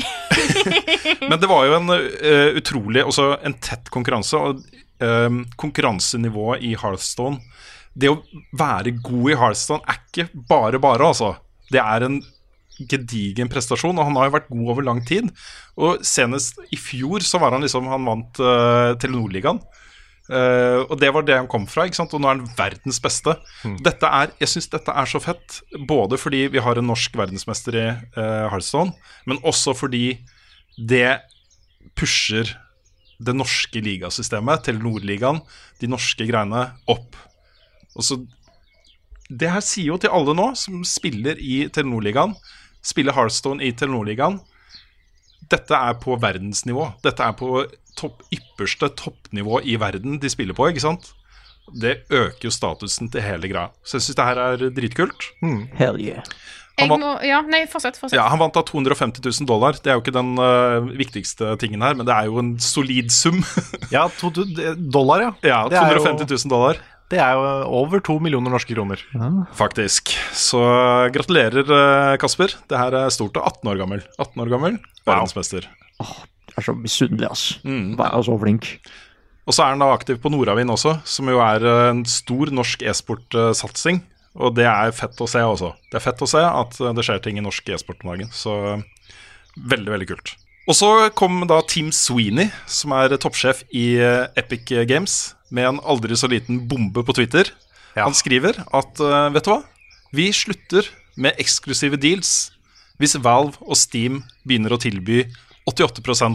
[SPEAKER 2] Men det var jo en eh, utrolig Også en tett konkurranse. Og um, konkurransenivået i Hearthstone Det å være god i Hearthstone er ikke bare bare, altså. Det er en gedigen prestasjon, og han har jo vært god over lang tid. Og senest i fjor så var han liksom Han vant uh, Telenor-ligaen. Eh, og det var det han kom fra, ikke sant? og nå er han verdens beste. Dette er, jeg syns dette er så fett, både fordi vi har en norsk verdensmester i uh, Hearthstone, men også fordi det pusher det norske ligasystemet, Telenor-ligaen, de norske greiene, opp. Og så Det her sier jo til alle nå som spiller i Telenor-ligaen, spiller Hearthstone i Telenor-ligaen Dette er på verdensnivå. Dette er på topp, ypperste toppnivå i verden de spiller på, ikke sant? Det øker jo statusen til hele greia. Så jeg syns det her er dritkult.
[SPEAKER 4] Hell yeah.
[SPEAKER 1] Jeg
[SPEAKER 2] vant-
[SPEAKER 1] må, ja, nei, fortsett. fortsett.
[SPEAKER 2] Ja, Han vant da 250 000 dollar. Det er jo ikke den øh, viktigste tingen her, men det er jo en solid sum.
[SPEAKER 3] Ja, to, du- dollar, ja.
[SPEAKER 2] ja,
[SPEAKER 3] Det er jo-
[SPEAKER 2] 250 000 dollar,
[SPEAKER 3] Det er jo over to millioner norske kroner.
[SPEAKER 2] faktisk. Så eh, gratulerer, øh, Kasper. Det her er stort. Og 18 år gammel. 18 år gammel, Verdensmester.
[SPEAKER 4] Jeg er så misunnelig, ass.
[SPEAKER 3] Mm.
[SPEAKER 4] Vær så flink.
[SPEAKER 2] Og så er han da aktiv på Nordavind også, som jo er øh, en stor norsk e-sportsatsing. Og det er fett å se også. Det er fett å se at øh, det skjer ting i norsk e-sport om dagen. Så øh, veldig, veldig kult. Og så kom da Team Sweeney, som er toppsjef i eh, Epic Games, med en aldri så liten bombe på Twitter.
[SPEAKER 3] Ja.
[SPEAKER 2] Han skriver at eh, vet du hva, vi slutter med eksklusive deals hvis Valve og Steam begynner å tilby 88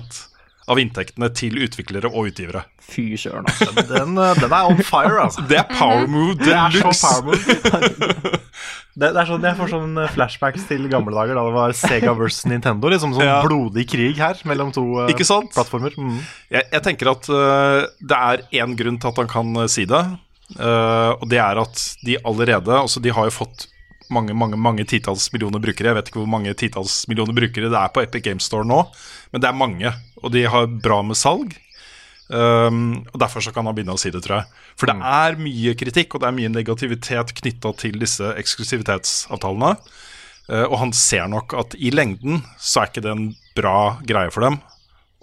[SPEAKER 2] av inntektene til utviklere og utgivere.
[SPEAKER 4] Fy søren, ass.
[SPEAKER 3] Den, eh, den er on fire, altså.
[SPEAKER 2] Det er power move.
[SPEAKER 3] Det er så
[SPEAKER 2] deluxe.
[SPEAKER 3] power move. Det, det er sånn, jeg får sånn eh, flashbacks til gamle dager da det var Sega versus Nintendo. Liksom sånn
[SPEAKER 2] Ja.
[SPEAKER 3] blodig krig her mellom to eh,
[SPEAKER 2] Ikke sant?
[SPEAKER 3] plattformer. Mm.
[SPEAKER 2] Jeg, jeg tenker at øh, det er én grunn til at han kan øh, si det. øh, og det er at de allerede Altså, de har jo fått mange mange, mange titalls millioner brukere. Jeg vet ikke hvor mange titalls millioner brukere det er på Epic Games Store nå, men det er mange. Og de har bra med salg. Um, og Derfor så kan han begynne å si det, tror jeg. For det er mye kritikk og det er mye negativitet knytta til disse eksklusivitetsavtalene. Eh, og han ser nok at i lengden så er ikke det en bra greie for dem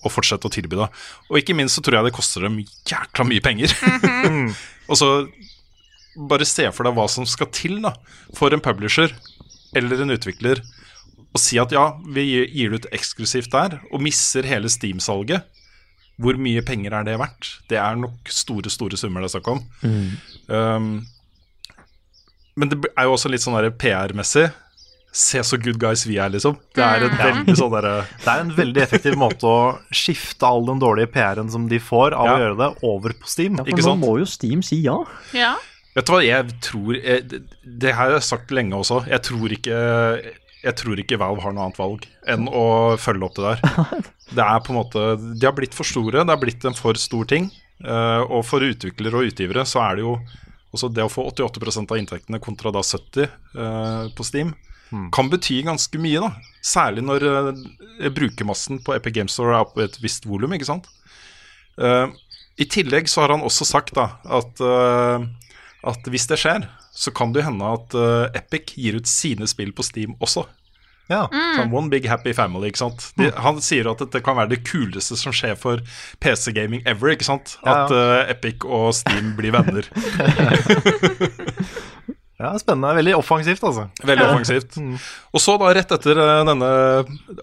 [SPEAKER 2] og fortsette å tilby det. Og ikke minst så tror jeg det koster dem jækla mye penger. og så bare se for deg hva som skal til da, for en publisher eller en utvikler å si at ja, vi gir- gir det ut eksklusivt der, og misser hele Steam-salget. Hvor mye penger er det verdt? Det er nok store, store summer det er snakk om. Um, men det er jo også litt sånn der PR-messig. Se så good guys vi er, liksom. Det er en veldig sånn derre
[SPEAKER 3] Det er en veldig effektiv måte å skifte all den dårlige PR-en som de får av
[SPEAKER 2] Ja.
[SPEAKER 3] å gjøre det, over på Steam.
[SPEAKER 2] Ikke
[SPEAKER 4] Men nå
[SPEAKER 2] sant?
[SPEAKER 4] må jo Steam si ja.
[SPEAKER 1] Ja.
[SPEAKER 2] Vet du hva, jeg tror jeg, det- Det her har jeg sagt lenge også. Jeg tror ikke jeg tror ikke Valve har noe annet valg enn å følge opp det der. Det er på en måte De har blitt for store. Det har blitt en for stor ting. Eh, og for utviklere og utgivere så er det jo også det å få 88 av inntektene kontra da 70 eh, på Steam kan bety ganske mye, da. Særlig når eh, brukermassen på Epic Games Store er på et visst volum, ikke sant. Eh, I tillegg så har han også sagt da at, eh, at hvis det skjer, så kan det jo hende at eh, Epic gir ut sine spill på Steam også.
[SPEAKER 3] Ja.
[SPEAKER 2] Sånn One big happy family, ikke sant. De, han sier at dette kan være det kuleste som skjer for PC-gaming ever, ikke sant.
[SPEAKER 3] Ja, ja.
[SPEAKER 2] At eh, Epic og Steam blir venner.
[SPEAKER 3] ja, spennende. Veldig offensivt, altså.
[SPEAKER 2] Veldig offensivt. Og så, da, rett etter eh, denne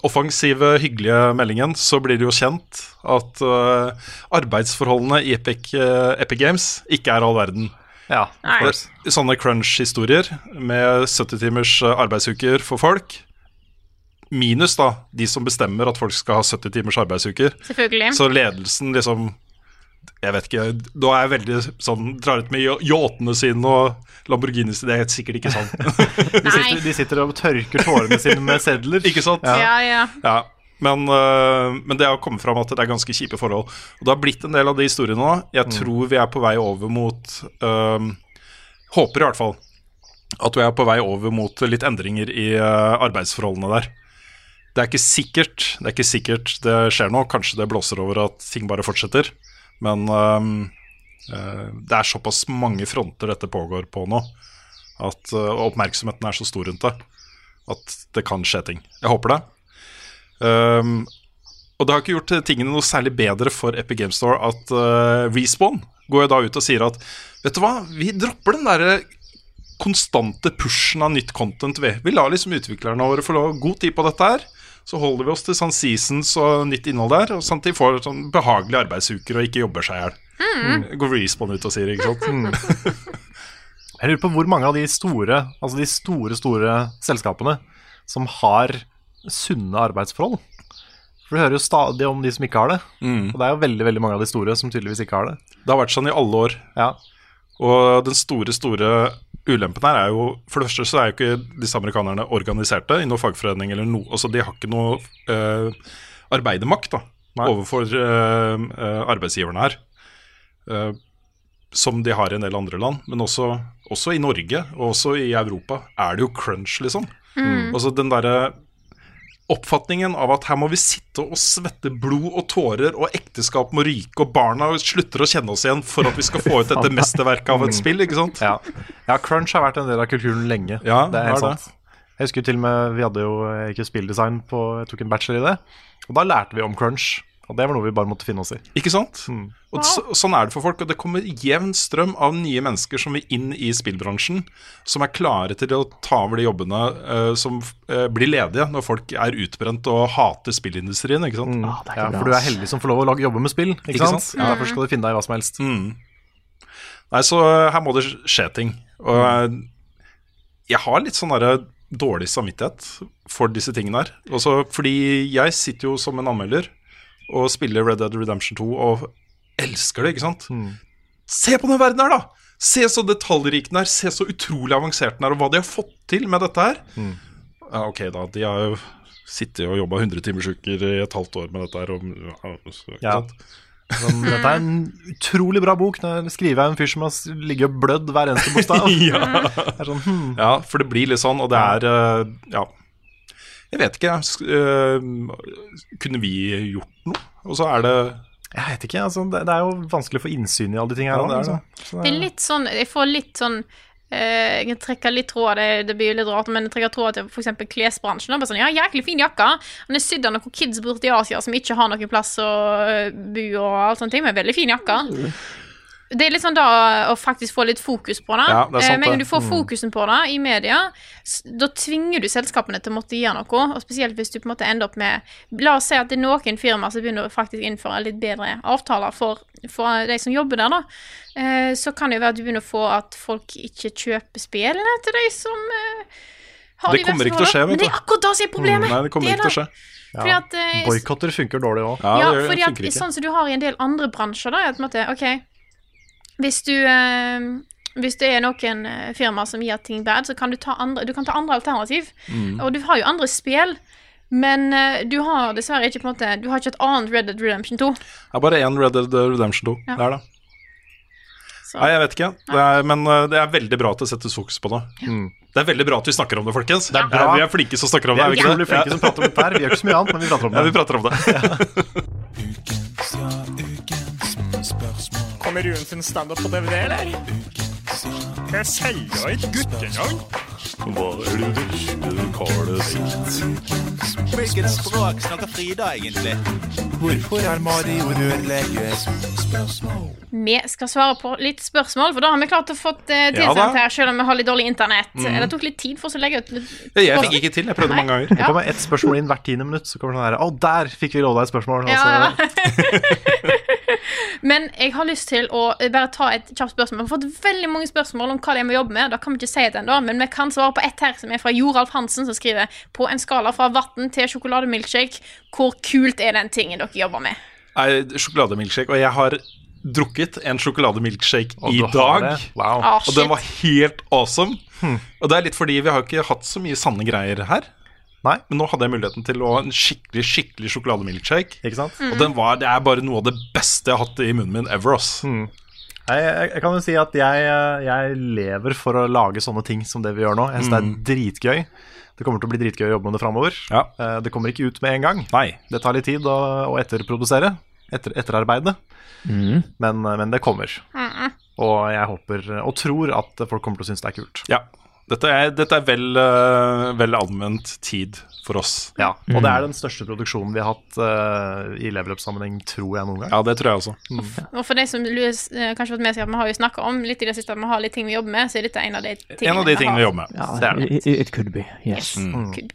[SPEAKER 2] offensive, hyggelige meldingen, så blir det jo kjent at eh, arbeidsforholdene i Epic, eh, Epic Games ikke er all verden.
[SPEAKER 3] Ja.
[SPEAKER 1] Nei.
[SPEAKER 2] Det er Eh, Sånne crunch-historier med 70 timers eh, arbeidsuker for folk. Minus da de som bestemmer at folk skal ha 70 timers arbeidsuker.
[SPEAKER 1] Selvfølgelig.
[SPEAKER 2] Så ledelsen liksom Jeg vet ikke. Da er jeg veldig sånn Drar ut med yå- yachtene sine og Lamborghinis Det er helt sikkert ikke sånn.
[SPEAKER 3] De sitter, de sitter og tørker tårene sine med sedler.
[SPEAKER 2] ikke sant?
[SPEAKER 1] Ja, ja.
[SPEAKER 2] Ja, men, øh, men det har kommet fram at det er ganske kjipe forhold. Og det har blitt en del av de historiene nå. Jeg tror vi er på vei over mot øh, Håper i hvert fall at vi er på vei over mot litt endringer i øh, arbeidsforholdene der. Det er ikke sikkert det, er ikke sikkert det skjer noe. Kanskje det blåser over at ting bare fortsetter. Men øh, øh, det er såpass mange fronter dette pågår på nå, at, øh, og oppmerksomheten er så stor rundt det, at det kan skje ting. Jeg håper det. Um, og det har ikke gjort tingene noe særlig bedre for Epic Game Store at eh, Respawn går jo da ut og sier at Vet du hva, vi dropper den derre konstante pushen av nytt content, vi. Vi lar liksom utviklerne våre få lov- god tid på dette her. Så holder vi oss til sånn seasons og nytt innhold der, og samtidig får sånn behagelige arbeidsuker og ikke jobber seg i hjel. Går Respawn ut og sier, ikke sant. Mm.
[SPEAKER 3] Jeg lurer på hvor mange av de store, altså de store, store selskapene som har sunne arbeidsforhold. For du hører jo stadig om de som ikke har det.
[SPEAKER 2] Mm.
[SPEAKER 3] Og det er jo veldig veldig mange av de store som tydeligvis ikke har det.
[SPEAKER 2] Det har vært sånn i alle år.
[SPEAKER 3] Ja,
[SPEAKER 2] Og den store, store ulempen her er jo For det første så er jo ikke disse amerikanerne organiserte i noen fagforening eller noe Altså de har ikke noe eh, arbeidermakt da overfor eh, eh, arbeidsgiverne her. eh, som de har i en del andre land. Men også, også i Norge og også i Europa er det jo crunch, liksom. Altså den derre oppfatningen av at her må vi sitte og svette blod og tårer, og ekteskap må ryke, og barna slutter å kjenne oss igjen for at vi skal få ut dette mesterverket av et spill, ikke sant?
[SPEAKER 3] ja. ja, crunch har vært en del av kulturen lenge.
[SPEAKER 2] Ja,
[SPEAKER 3] det er helt
[SPEAKER 2] det er det.
[SPEAKER 3] sant. Jeg husker til og med, Vi hadde jo eh, ikke spilldesign, på, jeg tok en bachelor i det. Og da lærte vi om crunch. Og det var noe vi bare måtte finne oss i.
[SPEAKER 2] Ikke sant? Og så, sånn er det for folk, og det kommer jevn strøm av nye mennesker som vil inn i spillbransjen, som er klare til å ta over de jobbene eh, som eh, blir ledige når folk er utbrent og hater spillindustrien, ikke sant?
[SPEAKER 4] det er ikke
[SPEAKER 3] Ja,
[SPEAKER 4] bra,
[SPEAKER 3] for du er
[SPEAKER 4] ass.
[SPEAKER 3] heldig som får lov å lage, jobbe med spill. Ikke,
[SPEAKER 2] Ikke
[SPEAKER 3] sant?
[SPEAKER 2] sant?
[SPEAKER 3] Ja, Derfor skal du finne deg i hva som helst.
[SPEAKER 2] Mm. Nei, så eh, her må det skje ting. Og eh, jeg har litt sånn derre dårlig samvittighet for disse tingene her. Også fordi jeg sitter jo som en anmelder og spiller Red Dead Redemption 2 og elsker det, ikke sant? Se på den verden her, da! Se så detaljrik den er, se så utrolig avansert den er, og hva de har fått til med dette her. Ja, ok, da. De har jo sittet og jobba 100-timersuker i et halvt år med dette her. Og, ja, så- ikke
[SPEAKER 3] Ja.
[SPEAKER 2] sant?
[SPEAKER 3] Sånn, dette er en utrolig bra bok. Nå skriver jeg en fyr som har s- ligget og blødd hver eneste bokstav. Det er sånn, hmm.
[SPEAKER 2] Ja, for det blir litt sånn, og det er eh, Ja. Jeg vet ikke. sk- eh, kunne vi gjort noe? Og så er det
[SPEAKER 3] Jeg vet ikke, altså, det, det er jo vanskelig å få innsyn i alle de tingene her.
[SPEAKER 2] Ja, det er det.
[SPEAKER 3] også, liksom. Så
[SPEAKER 1] Det er litt sånn Jeg får litt sånn Eh, jeg trekker litt tråd, det, det blir litt rart, men jeg trekker tråd til for eksempel klesbransjen. da, Bare sånn, ja, jæklig fin jakke. Den er sydd av noen kids borte i Asia som ikke har noen plass å eh, bo og alt sånt, men veldig fin jakke. Det er litt sånn da å faktisk få litt fokus på det.
[SPEAKER 2] Ja, det er sant
[SPEAKER 1] Eh, men
[SPEAKER 2] det. Mm.
[SPEAKER 1] du får fokusen på det i media, s- da tvinger du selskapene til å måtte gjøre noe. Og spesielt hvis du på en måte ender opp med La oss si at det er noen firmaer som begynner å faktisk innføre litt bedre avtaler for, for de som jobber der, da. Eh, så kan det jo være at du begynner å få at folk ikke kjøper spillene til de som eh, har
[SPEAKER 2] Det
[SPEAKER 1] de
[SPEAKER 2] kommer
[SPEAKER 1] verste
[SPEAKER 2] ikke til å skje,
[SPEAKER 1] forholdene.
[SPEAKER 2] vet
[SPEAKER 1] Men det er
[SPEAKER 2] du. Mm,
[SPEAKER 1] akkurat det som er problemet.
[SPEAKER 2] Nei, det kommer ikke til å skje.
[SPEAKER 3] Ja.
[SPEAKER 1] Fordi at, eh,
[SPEAKER 3] Boikotter funker dårlig òg.
[SPEAKER 2] Ja,
[SPEAKER 1] ja,
[SPEAKER 2] det gjør-
[SPEAKER 1] fordi at
[SPEAKER 2] funker ikke.
[SPEAKER 1] sånn som du har i en del andre bransjer, da, er at på en måte, ok, hvis du eh, hvis det er noen eh, firmaer som gir ting bad, så kan du ta andre, du kan ta andre alternativ.
[SPEAKER 2] Mm.
[SPEAKER 1] Og du har jo andre spill, men eh, du har dessverre ikke på en måte, du har ikke et annet Red Dead Redemption 2.
[SPEAKER 2] Det er bare én Red Dead Redemption 2
[SPEAKER 1] Ja.
[SPEAKER 2] der, da.
[SPEAKER 1] Så,
[SPEAKER 2] Nei, jeg vet ikke. Det er, men uh, det er veldig bra at det settes fokus på det.
[SPEAKER 3] Mm.
[SPEAKER 2] Det er veldig bra at vi snakker om det, folkens.
[SPEAKER 3] er bra.
[SPEAKER 2] vi er flinke som snakker om
[SPEAKER 3] Vi
[SPEAKER 2] det.
[SPEAKER 3] er
[SPEAKER 2] vi ikke
[SPEAKER 3] utrolig
[SPEAKER 2] det?
[SPEAKER 3] flinke som prater om dette her. Vi gjør ikke så mye annet, men vi prater om
[SPEAKER 2] Ja, vi
[SPEAKER 3] det.
[SPEAKER 2] prater om det.
[SPEAKER 5] Kommer Rune sin standup på DVD, eller? Jeg selger ikke guttenavn. Hva er det du kaller sitt?
[SPEAKER 6] Hvilket språk snakker Frida egentlig? Hvorfor er Mari rørlegger?
[SPEAKER 1] vi skal svare på litt spørsmål, for da har vi klart å få eh,
[SPEAKER 2] Ja,
[SPEAKER 1] tilsendt
[SPEAKER 2] da. Mm.
[SPEAKER 1] her, selv om vi har litt dårlig internett. Det tok litt tid for oss å legge ut litt
[SPEAKER 2] Jeg fikk ikke til. Jeg prøvde
[SPEAKER 1] Nei.
[SPEAKER 2] mange ganger.
[SPEAKER 3] Det kommer ett spørsmål inn hvert tiende minutt. Så kommer det sånn her Å, der fikk vi lov deg et spørsmål! Og
[SPEAKER 1] Ja,
[SPEAKER 3] så,
[SPEAKER 1] Altså, Men jeg har lyst til å bare ta et kjapt spørsmål. Vi har fått veldig mange spørsmål om hva det er vi jobber med. Da kan vi ikke si det ennå, men vi kan svare på ett her, som er fra Joralf Hansen, som skriver På en skala fra vann til sjokolademilkshake, hvor kult er den tingen dere jobber med?
[SPEAKER 2] Nei, sjokolademilkshake. Og jeg har drukket en sjokolademilkshake
[SPEAKER 3] og
[SPEAKER 2] i
[SPEAKER 3] du har
[SPEAKER 2] dag.
[SPEAKER 3] det. Wow.
[SPEAKER 1] Ah,
[SPEAKER 2] Og
[SPEAKER 1] shit.
[SPEAKER 2] den var helt awesome. Og det er litt fordi vi har ikke hatt så mye sanne greier her.
[SPEAKER 3] Nei.
[SPEAKER 2] Men nå hadde jeg muligheten til å ha en skikkelig skikkelig sjokolademilkshake.
[SPEAKER 3] Ikke sant?
[SPEAKER 1] Mm.
[SPEAKER 2] Og den var, det er bare noe av det beste jeg har hatt i munnen min ever. ass.
[SPEAKER 3] Nei, jeg, jeg kan jo si at jeg, eh, jeg lever for å lage sånne ting som det vi gjør nå. Jeg synes
[SPEAKER 2] Mm.
[SPEAKER 3] det er dritgøy. Det kommer til å bli dritgøy å jobbe med det framover.
[SPEAKER 2] Ja.
[SPEAKER 3] Eh, Det kommer ikke ut med en gang.
[SPEAKER 2] Nei.
[SPEAKER 3] Det tar litt tid å, å etterprodusere. Etter, etterarbeide. Men, eh, men det kommer. Og jeg håper og tror at folk kommer til å synes det er kult.
[SPEAKER 2] Ja. Dette er, dette er vel, eh, vel anvendt tid for oss.
[SPEAKER 3] Ja, Og det er den største produksjonen vi har hatt eh, i leveløpssammenheng, tror jeg, noen gang.
[SPEAKER 2] Ja, det tror jeg også.
[SPEAKER 1] Og for de som lus- eh, kanskje har fått med seg at vi har jo snakka om litt i det siste at vi har litt ting vi jobber med, så er dette en av de tingene,
[SPEAKER 2] En av de tingene vi jobber med.
[SPEAKER 4] Ja,
[SPEAKER 3] Det er
[SPEAKER 4] it, it could be. Yes.
[SPEAKER 1] Kubb.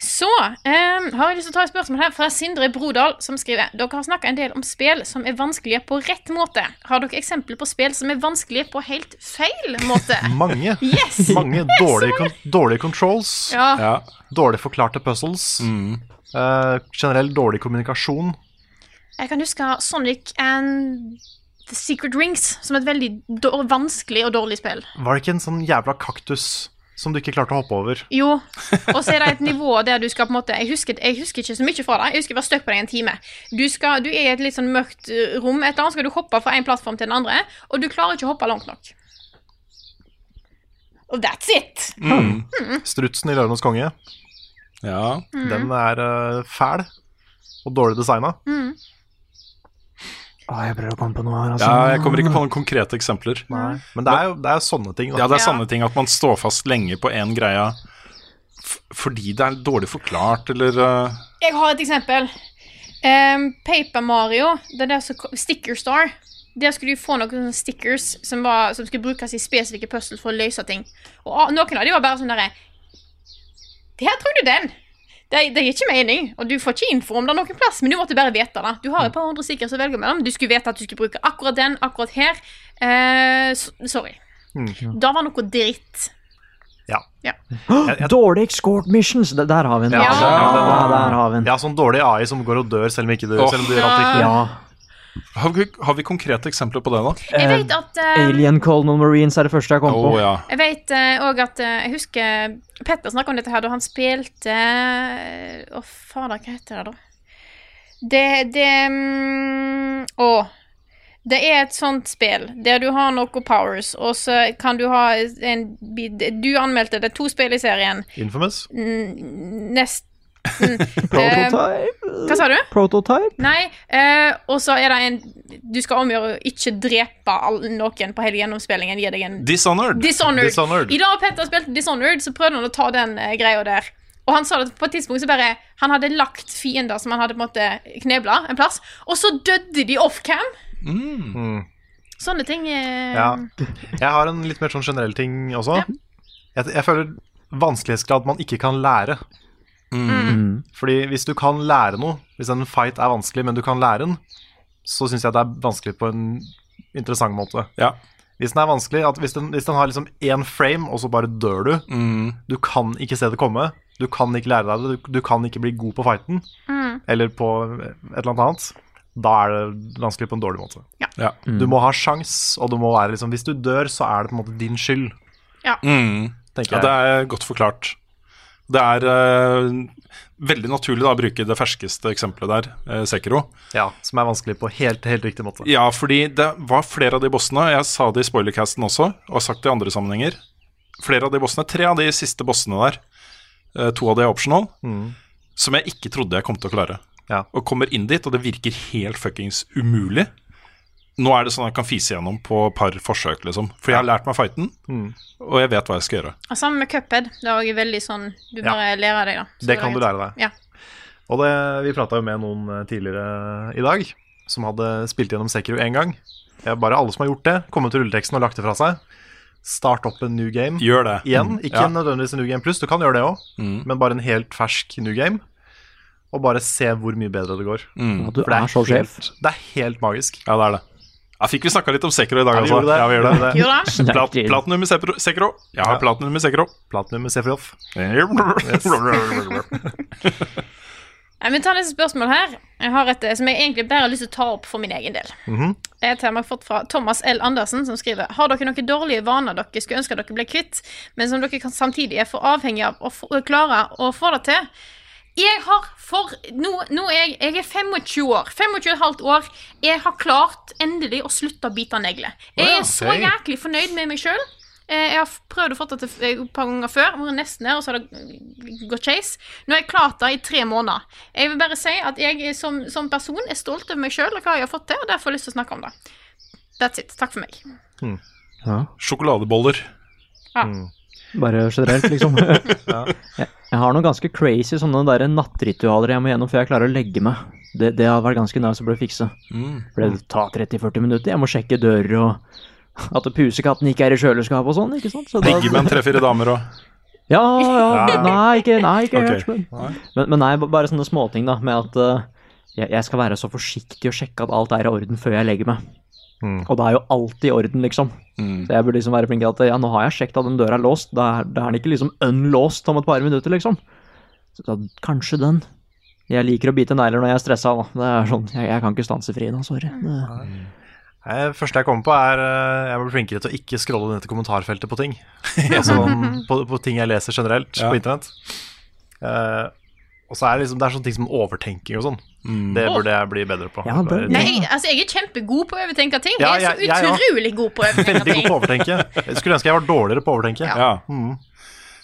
[SPEAKER 1] Så eh, har jeg lyst til å ta et spørsmål her fra Sindre Brodal, som skriver Dere har snakka en del om spill som er vanskelige på rett måte. Har dere eksempler på spill som er vanskelige på helt feil måte?
[SPEAKER 3] Mange,
[SPEAKER 1] Yes!
[SPEAKER 3] mange dårlige, kon dårlige controls.
[SPEAKER 1] Ja.
[SPEAKER 2] Ja.
[SPEAKER 3] Dårlig forklarte puzzles. Eh, generell dårlig kommunikasjon.
[SPEAKER 1] Jeg kan huske Sonic and The Secret Rings som et veldig dår- vanskelig og dårlig spill.
[SPEAKER 3] Var det ikke en sånn jævla kaktus som du ikke klarte å hoppe over?
[SPEAKER 1] Jo. Og så er det et nivå der du skal på en måte Jeg husker, jeg husker ikke så mye fra det. Jeg husker jeg var stuck på det i en time. Du, skal, du er i et litt sånn mørkt eh, rom, et eller annet skal du hoppe fra en plattform til den andre, og du klarer ikke å hoppe langt nok. Og that's it!
[SPEAKER 3] Strutsen i Løvenes konge,
[SPEAKER 2] Mm. ja.
[SPEAKER 1] Mm.
[SPEAKER 3] den er eh, fæl og dårlig designa.
[SPEAKER 1] Mm.
[SPEAKER 4] Å, jeg prøver å komme på noe her, altså.
[SPEAKER 2] ja, jeg kommer ikke på noen konkrete eksempler.
[SPEAKER 3] Men det er jo det er jo sånne ting.
[SPEAKER 2] Ja,
[SPEAKER 3] Da.
[SPEAKER 2] det er
[SPEAKER 1] Ja.
[SPEAKER 2] sanne ting at man står fast lenge på én greie f- fordi det er dårlig forklart, eller eh,
[SPEAKER 1] Jeg har et eksempel. Em, Paper Mario, det der som ko- Sticker Star. Der skulle du få noen sånne stickers som, var, som skulle brukes i spesifikke puzzle for å løse ting. Og a- noen av dem var bare sånn derre Det her tror du den! Det, det gir ikke mening, og du får ikke info om det noen plass, men du måtte bare vite det. Du har et par hundre stickers å velge mellom. Du skulle vite at du skulle bruke akkurat den, akkurat her. Eh, s- sorry.
[SPEAKER 3] Mm.
[SPEAKER 1] Da var noe dritt.
[SPEAKER 4] Dårlig escort missions! Det, der har vi den.
[SPEAKER 3] Ja,
[SPEAKER 4] altså.
[SPEAKER 1] Ja.
[SPEAKER 4] Ja, der har vi den.
[SPEAKER 3] Ja, sånn dårlig AI som går og dør selv om ikke du
[SPEAKER 2] Åh.
[SPEAKER 3] selv om du gjør alt riktig.
[SPEAKER 4] Ja.
[SPEAKER 2] har, vi, har vi konkrete eksempler på det, da?
[SPEAKER 1] Jeg vet at em,
[SPEAKER 4] Alien Colonel Marines er det første jeg kom
[SPEAKER 2] Å
[SPEAKER 4] på.
[SPEAKER 2] Oh, ja.
[SPEAKER 1] Jeg vet òg at eh, Jeg husker Petter snakka om dette her da han spilte eh, Å, fader, hva heter det, da? Det Det mm, Å. Det er et sånt spill der du har noen powers, og så kan du ha en bid- Du anmeldte det to spill i serien.
[SPEAKER 3] Infamous.
[SPEAKER 1] N- Nest
[SPEAKER 4] Prototype?
[SPEAKER 1] Hva sa du?
[SPEAKER 4] Prototype?
[SPEAKER 1] Nei. eh, og så er det en du skal omgjøre å ikke drepe all, noen på hele gjennomspillingen. Gi deg en
[SPEAKER 2] Dishonored.
[SPEAKER 1] Dishonored.
[SPEAKER 2] Dishonored.
[SPEAKER 1] I dag har Petter spilte Dishonored, så prøvde han å ta den eh, greia der. Og han sa det på et tidspunkt så bare Han hadde lagt fiender som han hadde på en måte knebla en plass, og så døde de offcam.
[SPEAKER 3] Mm.
[SPEAKER 1] Sånne ting eh,
[SPEAKER 3] Ja. Jeg har en litt mer sånn generell ting også. Jeg, jeg føler vanskelighetsgrad man ikke kan lære.
[SPEAKER 4] Mm.
[SPEAKER 3] Fordi hvis du kan lære noe, hvis en fight er vanskelig, men du kan lære den, så syns jeg det er vanskelig på en interessant måte. Hvis den er vanskelig, at hvis den, hvis den har liksom én frame, og så bare dør du
[SPEAKER 2] mm,
[SPEAKER 3] Du kan ikke se det komme, du kan ikke lære deg det, du, du kan ikke bli god på fighten,
[SPEAKER 1] Mm.
[SPEAKER 3] eller på et eller annet annet. Da er det vanskelig på en dårlig måte.
[SPEAKER 2] Ja.
[SPEAKER 3] Du må ha sjans, og du må være liksom Hvis du dør, så er det på en måte din skyld.
[SPEAKER 1] Ja.
[SPEAKER 2] Mm.
[SPEAKER 3] Tenker
[SPEAKER 2] Ja,
[SPEAKER 3] jeg.
[SPEAKER 2] det er godt forklart. Det er eh, veldig naturlig da, å bruke det ferskeste eksempelet der, eh, Sekiro.
[SPEAKER 3] Ja, Som er vanskelig på helt, helt riktig måte.
[SPEAKER 2] Ja, fordi det var flere av de bossene, jeg sa det i spoilercasten også, og har sagt det i andre sammenhenger. Flere av de bossene, tre av de siste bossene der, eh, to av de er optional,
[SPEAKER 3] Mm.
[SPEAKER 2] som jeg ikke trodde jeg kom til å klare.
[SPEAKER 3] Ja.
[SPEAKER 2] Og kommer inn dit, og det virker helt fuckings umulig. Nå er det sånn jeg kan fise gjennom på et par forsøk, liksom. For jeg har lært meg fighten,
[SPEAKER 3] Mm.
[SPEAKER 2] og jeg vet hva jeg skal gjøre.
[SPEAKER 1] Og sammen med Cuphead. Det er også veldig sånn Du
[SPEAKER 3] Ja.
[SPEAKER 1] bare ler av deg, da. Så
[SPEAKER 3] Det kan
[SPEAKER 1] er
[SPEAKER 3] du
[SPEAKER 1] greit.
[SPEAKER 3] lære deg.
[SPEAKER 1] Ja.
[SPEAKER 3] Og det, vi prata jo med noen eh, tidligere i dag som hadde spilt gjennom Sekiro én gang. Jeg bare alle som har gjort det, kommet til rulleteksten og lagt det fra seg. Start opp en new game
[SPEAKER 2] Gjør det.
[SPEAKER 3] igjen.
[SPEAKER 2] Mm.
[SPEAKER 3] Ikke
[SPEAKER 2] Ja.
[SPEAKER 3] nødvendigvis en new game pluss, du kan gjøre det òg,
[SPEAKER 2] Mm.
[SPEAKER 3] men bare en helt fersk new game. Og bare se hvor mye bedre det går.
[SPEAKER 2] Mm.
[SPEAKER 4] Ja, du
[SPEAKER 3] For det
[SPEAKER 4] er så sjef.
[SPEAKER 3] helt, det er helt magisk.
[SPEAKER 2] Ja, det er det. Ja, fikk vi snakka litt om Sekro i dag,
[SPEAKER 3] Ja, vi
[SPEAKER 2] altså?
[SPEAKER 3] gjorde det.
[SPEAKER 2] Ja, vi gjør
[SPEAKER 3] Vi gjorde
[SPEAKER 2] det.
[SPEAKER 3] det.
[SPEAKER 1] Gjorde det?
[SPEAKER 2] Plat, platinum i Sepro- Sekro. Jeg har
[SPEAKER 3] Ja.
[SPEAKER 2] platinum i Sekro.
[SPEAKER 3] Platinum med Sefrioth.
[SPEAKER 1] Nei, men ta neste spørsmål her. Jeg har et eh, som jeg egentlig bare har lyst til å ta opp for min egen del.
[SPEAKER 3] Mhm.
[SPEAKER 1] Det er et tema jeg har fått fra Thomas L. Andersen, som skriver Har dere noen dårlige vaner dere skulle ønske dere ble kvitt, men som dere kan samtidig er for avhengig av å få- å klare å få det til? Jeg har for Nå, nå er jeg, jeg er 25 år. 25 og et halvt år. Jeg har klart endelig å slutte å bite negler. Jeg
[SPEAKER 3] Wow,
[SPEAKER 1] er så
[SPEAKER 3] hei.
[SPEAKER 1] jæklig fornøyd med meg sjøl. Jeg har f- prøvd å få det til f- et par ganger før, vært nesten der, og så har det gått skeis. Nå har jeg klart det i tre måneder. Jeg vil bare si at jeg er som, som person er stolt over meg sjøl og hva jeg har fått til, og derfor har jeg lyst til å snakke om det. That's it. Takk for meg.
[SPEAKER 3] Mm.
[SPEAKER 4] Ja.
[SPEAKER 2] Sjokoladeboller.
[SPEAKER 4] Bare generelt, liksom.
[SPEAKER 3] Ja.
[SPEAKER 4] jeg, jeg har noen ganske crazy sånne der nattritualer jeg må gjennom før jeg klarer å legge meg. Det, det har vært ganske nice å bli fikse.
[SPEAKER 3] Mm.
[SPEAKER 4] For det tar 30-40 minutter. Jeg må sjekke dører og at pusekatten ikke er i kjøleskapet og sånn. ikke sant? Så da-
[SPEAKER 2] Ligge med en tre-fire damer og
[SPEAKER 4] Ja, ja.
[SPEAKER 3] Ja.
[SPEAKER 4] Nei, ikke, nei, ikke
[SPEAKER 2] Ok.
[SPEAKER 4] helt, men- Men, men nei, ba- bare sånne småting, da. Med at eh, jeg, jeg skal være så forsiktig og sjekke at alt er i orden før jeg legger meg.
[SPEAKER 3] Mm.
[SPEAKER 4] Og det er jo alt i orden, liksom.
[SPEAKER 2] Mm.
[SPEAKER 4] Så jeg burde liksom være flink til at ja, nå har jeg sjekket at den døra er låst, da er, da er den ikke liksom unlåst om et par minutter, liksom. Så da, kanskje den. Jeg liker å bite negler når jeg er stressa, da. Det er sånn, jeg, jeg kan ikke stanse fri nå, sorry. Det,
[SPEAKER 3] Det første jeg kommer på, er eh, jeg blir flinkere til å ikke scrolle ned til kommentarfeltet på ting. altså sånn, på, på ting jeg leser generelt
[SPEAKER 2] Ja.
[SPEAKER 3] på internett. Eh, og så er det liksom Det er sånne ting som overtenking og sånn.
[SPEAKER 2] Mm.
[SPEAKER 3] Det burde jeg bli bedre på.
[SPEAKER 4] Ja, det-
[SPEAKER 3] Bare-
[SPEAKER 1] Nei, jeg, altså, jeg er kjempegod på å overtenke ting.
[SPEAKER 3] Ja,
[SPEAKER 1] jeg er
[SPEAKER 3] jeg- jeg
[SPEAKER 1] så
[SPEAKER 3] også.
[SPEAKER 1] utrolig god på å overtenke
[SPEAKER 3] Veldig
[SPEAKER 1] ting.
[SPEAKER 3] god på å overtenke. Jeg skulle ønske jeg var dårligere på å overtenke.
[SPEAKER 2] Ja.
[SPEAKER 3] Mm.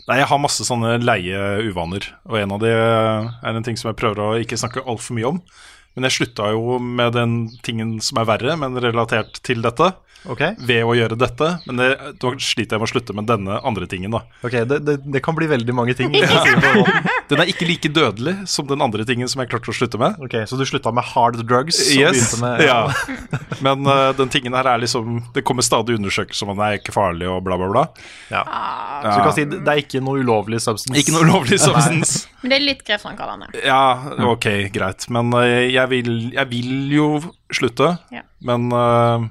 [SPEAKER 2] Nei, jeg har masse sånne leie uvaner, og en av de er en ting som jeg prøver å ikke snakke altfor mye om. Men jeg slutta jo med den tingen som er verre, men relatert til dette,
[SPEAKER 3] Ok,
[SPEAKER 2] ved å gjøre dette. Men det, da sliter jeg med å slutte med denne andre tingen, da.
[SPEAKER 3] ok, det, det, det kan bli veldig mange ting. hvis du sier det på den måten.
[SPEAKER 2] Den er ikke like dødelig som den andre tingen som jeg klarte å slutte med.
[SPEAKER 3] Ok, Så du slutta med hard drugs? og
[SPEAKER 2] Yes,
[SPEAKER 3] begynte med-
[SPEAKER 2] ja. Men eh, den tingen her er liksom Det kommer stadig undersøkelser om at den er ikke farlig og bla, bla, bla.
[SPEAKER 3] Ja. Så du kan si det det er ikke noe ulovlig substance.
[SPEAKER 2] Ikke noe ulovlig substans.
[SPEAKER 1] Men det er litt grepsframkallende.
[SPEAKER 2] Ja, ok, greit. Men eh, jeg vil, jeg vil jo slutte,
[SPEAKER 1] Ja.
[SPEAKER 2] men eh,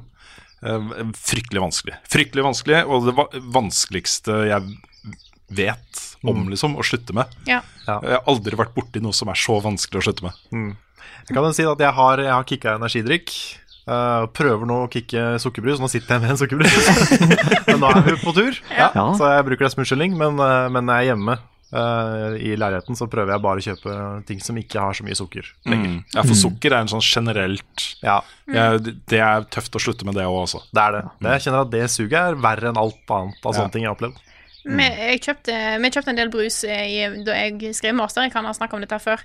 [SPEAKER 2] eh, fryktelig vanskelig. Fryktelig vanskelig, og det va vanskeligste jeg vet om, liksom, å slutte med.
[SPEAKER 1] Ja.
[SPEAKER 2] Jeg har aldri vært borti noe som er så vanskelig å slutte med.
[SPEAKER 3] Jeg kan jo si at jeg har, jeg har kicka energidrikk. eh, prøver nå å kicke sukkerbrus. Nå sitter jeg med en sukkerbrus. men nå er vi på tur,
[SPEAKER 4] Ja.
[SPEAKER 3] så jeg bruker det som unnskyldning. Men, eh, men når jeg er hjemme eh, i leiligheten, så prøver jeg bare å kjøpe ting som ikke har så mye sukker.
[SPEAKER 2] Mm. Ja, for sukker er en sånn generelt
[SPEAKER 3] Ja,
[SPEAKER 1] Mm.
[SPEAKER 2] jeg, Det er tøft å slutte med det òg, altså.
[SPEAKER 3] det er det. det. Jeg kjenner at det suget er verre enn alt annet av
[SPEAKER 2] Ja.
[SPEAKER 3] sånne ting jeg har opplevd.
[SPEAKER 1] Vi, jeg kjøpte, vi kjøpte en del brus i, da jeg skrev master. Jeg kan ha snakket om dette før.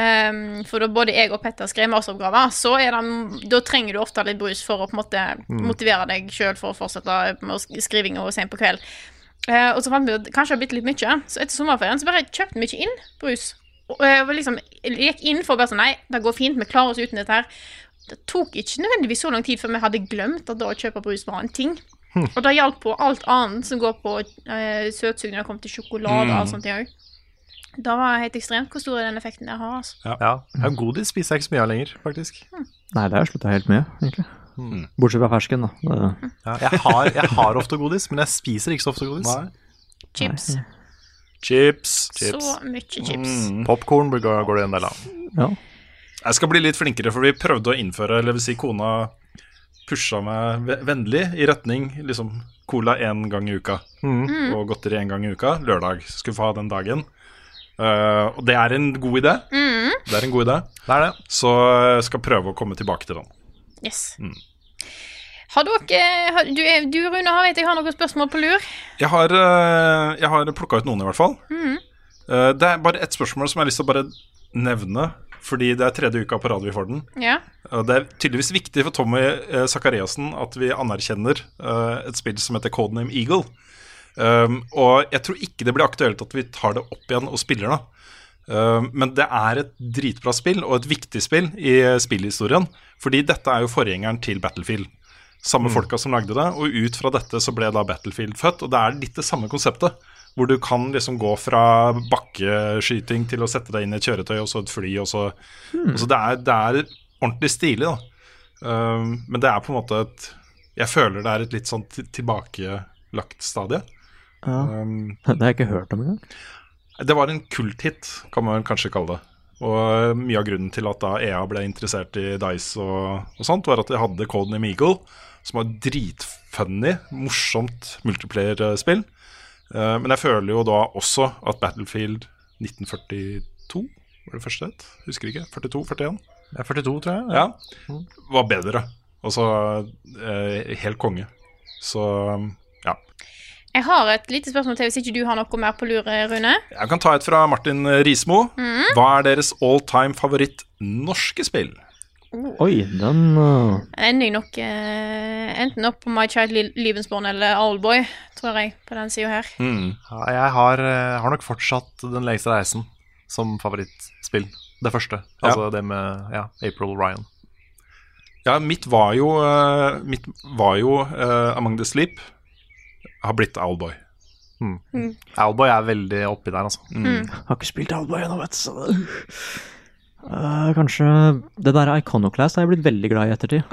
[SPEAKER 1] Ehm, for da både jeg og Petter skrev masteroppgaver, så er det, da trenger du ofte litt brus for å på en måte
[SPEAKER 7] Mm.
[SPEAKER 1] motivere deg sjøl for å fortsette med å sk- skriving og sent på kveld. Eh, og så fant vi ut at kanskje det har blitt litt mye, så etter sommerferien så bare kjøpte vi ikke inn brus. Og eh, var liksom gikk inn for bare sånn Nei, det går fint, vi klarer oss uten dette her. Det tok ikke nødvendigvis så lang tid før vi hadde glemt at det å kjøpe brus var en ting.
[SPEAKER 7] Hm.
[SPEAKER 1] Og det gjaldt på alt annet som går på eh, søtsug når det kommer til sjokolade og
[SPEAKER 3] Mm.
[SPEAKER 1] sånt òg. Det var helt ekstremt hvor stor er den effekten det har. altså.
[SPEAKER 3] Ja. ja godis spiser jeg ikke så mye av lenger, faktisk.
[SPEAKER 4] Nei, det har jeg slutta helt med, egentlig.
[SPEAKER 3] Mm.
[SPEAKER 4] Bortsett fra fersken, da. Det-
[SPEAKER 3] Ja, jeg, har, jeg har ofte godis, men jeg spiser ikke så ofte godis.
[SPEAKER 1] Chips.
[SPEAKER 3] Chips.
[SPEAKER 1] Så mye chips.
[SPEAKER 2] Mm.
[SPEAKER 3] Popkorn går, går det en del av.
[SPEAKER 2] Jeg skal bli litt flinkere, for vi prøvde å innføre Eller vil si, kona pusha meg ve- vennlig i retning liksom cola én gang i uka.
[SPEAKER 3] Mm.
[SPEAKER 2] Og godteri én gang i uka. Lørdag. Skulle få ha den dagen. Eh, og det er en god idé.
[SPEAKER 1] Mm.
[SPEAKER 2] Det er en god idé. Så jeg skal prøve å komme tilbake til den.
[SPEAKER 1] Yes.
[SPEAKER 2] Mm.
[SPEAKER 1] Har dere eh, har, du, er- du, Rune, har, vet jeg har noen spørsmål på lur.
[SPEAKER 2] Jeg har, eh, jeg har plukka ut noen, i hvert fall.
[SPEAKER 1] Mm.
[SPEAKER 2] Eh, det er bare ett spørsmål som jeg har lyst til å bare nevne, fordi det er tredje uka på rad vi får den.
[SPEAKER 1] Ja.
[SPEAKER 2] Og Det er tydeligvis viktig for Tommy eh, Sakariassen at vi anerkjenner eh, et spill som heter Codename Eagle. Um, og jeg tror ikke det blir aktuelt at vi tar det opp igjen og spiller det. Um, men det er et dritbra spill, og et viktig spill i eh, spillhistorien. Fordi dette er jo forgjengeren til Battlefield. Samme folka som lagde det, og ut fra dette så ble da Battlefield født. Og det er litt det samme konseptet, hvor du kan liksom gå fra bakkeskyting til å sette deg inn i et kjøretøy, og så et fly, og så
[SPEAKER 3] Hmm.
[SPEAKER 2] Altså, det, er, det er ordentlig stilig, da. Um, men det er på en måte et Jeg føler det er et litt sånn til- tilbakelagt stadie.
[SPEAKER 4] Ja.
[SPEAKER 2] Um,
[SPEAKER 4] Det har jeg ikke hørt om engang.
[SPEAKER 2] det var en kulthit, kan man vel kanskje kalle det. Og mye av grunnen til at da EA ble interessert i Dice og, og sånt, var at de hadde Coden in Eagle, som var dritfunny, morsomt multiplayer-spill. Eh, men jeg føler jo da også at Battlefield 1942 var det første het? Husker ikke. 42-41?
[SPEAKER 3] Det er 42, tror jeg.
[SPEAKER 2] Ja. Var bedre. Altså eh, helt konge. Så ja.
[SPEAKER 1] Jeg har et lite spørsmål til hvis ikke du har noe mer på lur, eh, Rune.
[SPEAKER 2] Jeg kan ta et fra Martin Rismo.
[SPEAKER 1] Mhm.
[SPEAKER 2] Hva er deres all time favoritt norske spill?
[SPEAKER 1] Oh.
[SPEAKER 4] Oi, den uh,
[SPEAKER 1] Ender jeg nok eh, enten opp på My Child Li- Lebensborn eller Oldboy, tror jeg, på den sida her.
[SPEAKER 4] Mm.
[SPEAKER 3] Ja, jeg har, eh, har nok fortsatt Den lengste reisen som favorittspill. Det første. Altså det med ja, April Ryan.
[SPEAKER 2] Ja, mitt var jo, eh, mitt var jo eh, Among the Sleep. Har blitt Owlboy.
[SPEAKER 1] Mm.
[SPEAKER 3] Owlboy er veldig oppi der, altså.
[SPEAKER 4] Mm. Har ikke spilt Owlboy ennå, vet du. så det- Eh, kanskje Det der Iconoclast har jeg blitt veldig glad i i ettertid.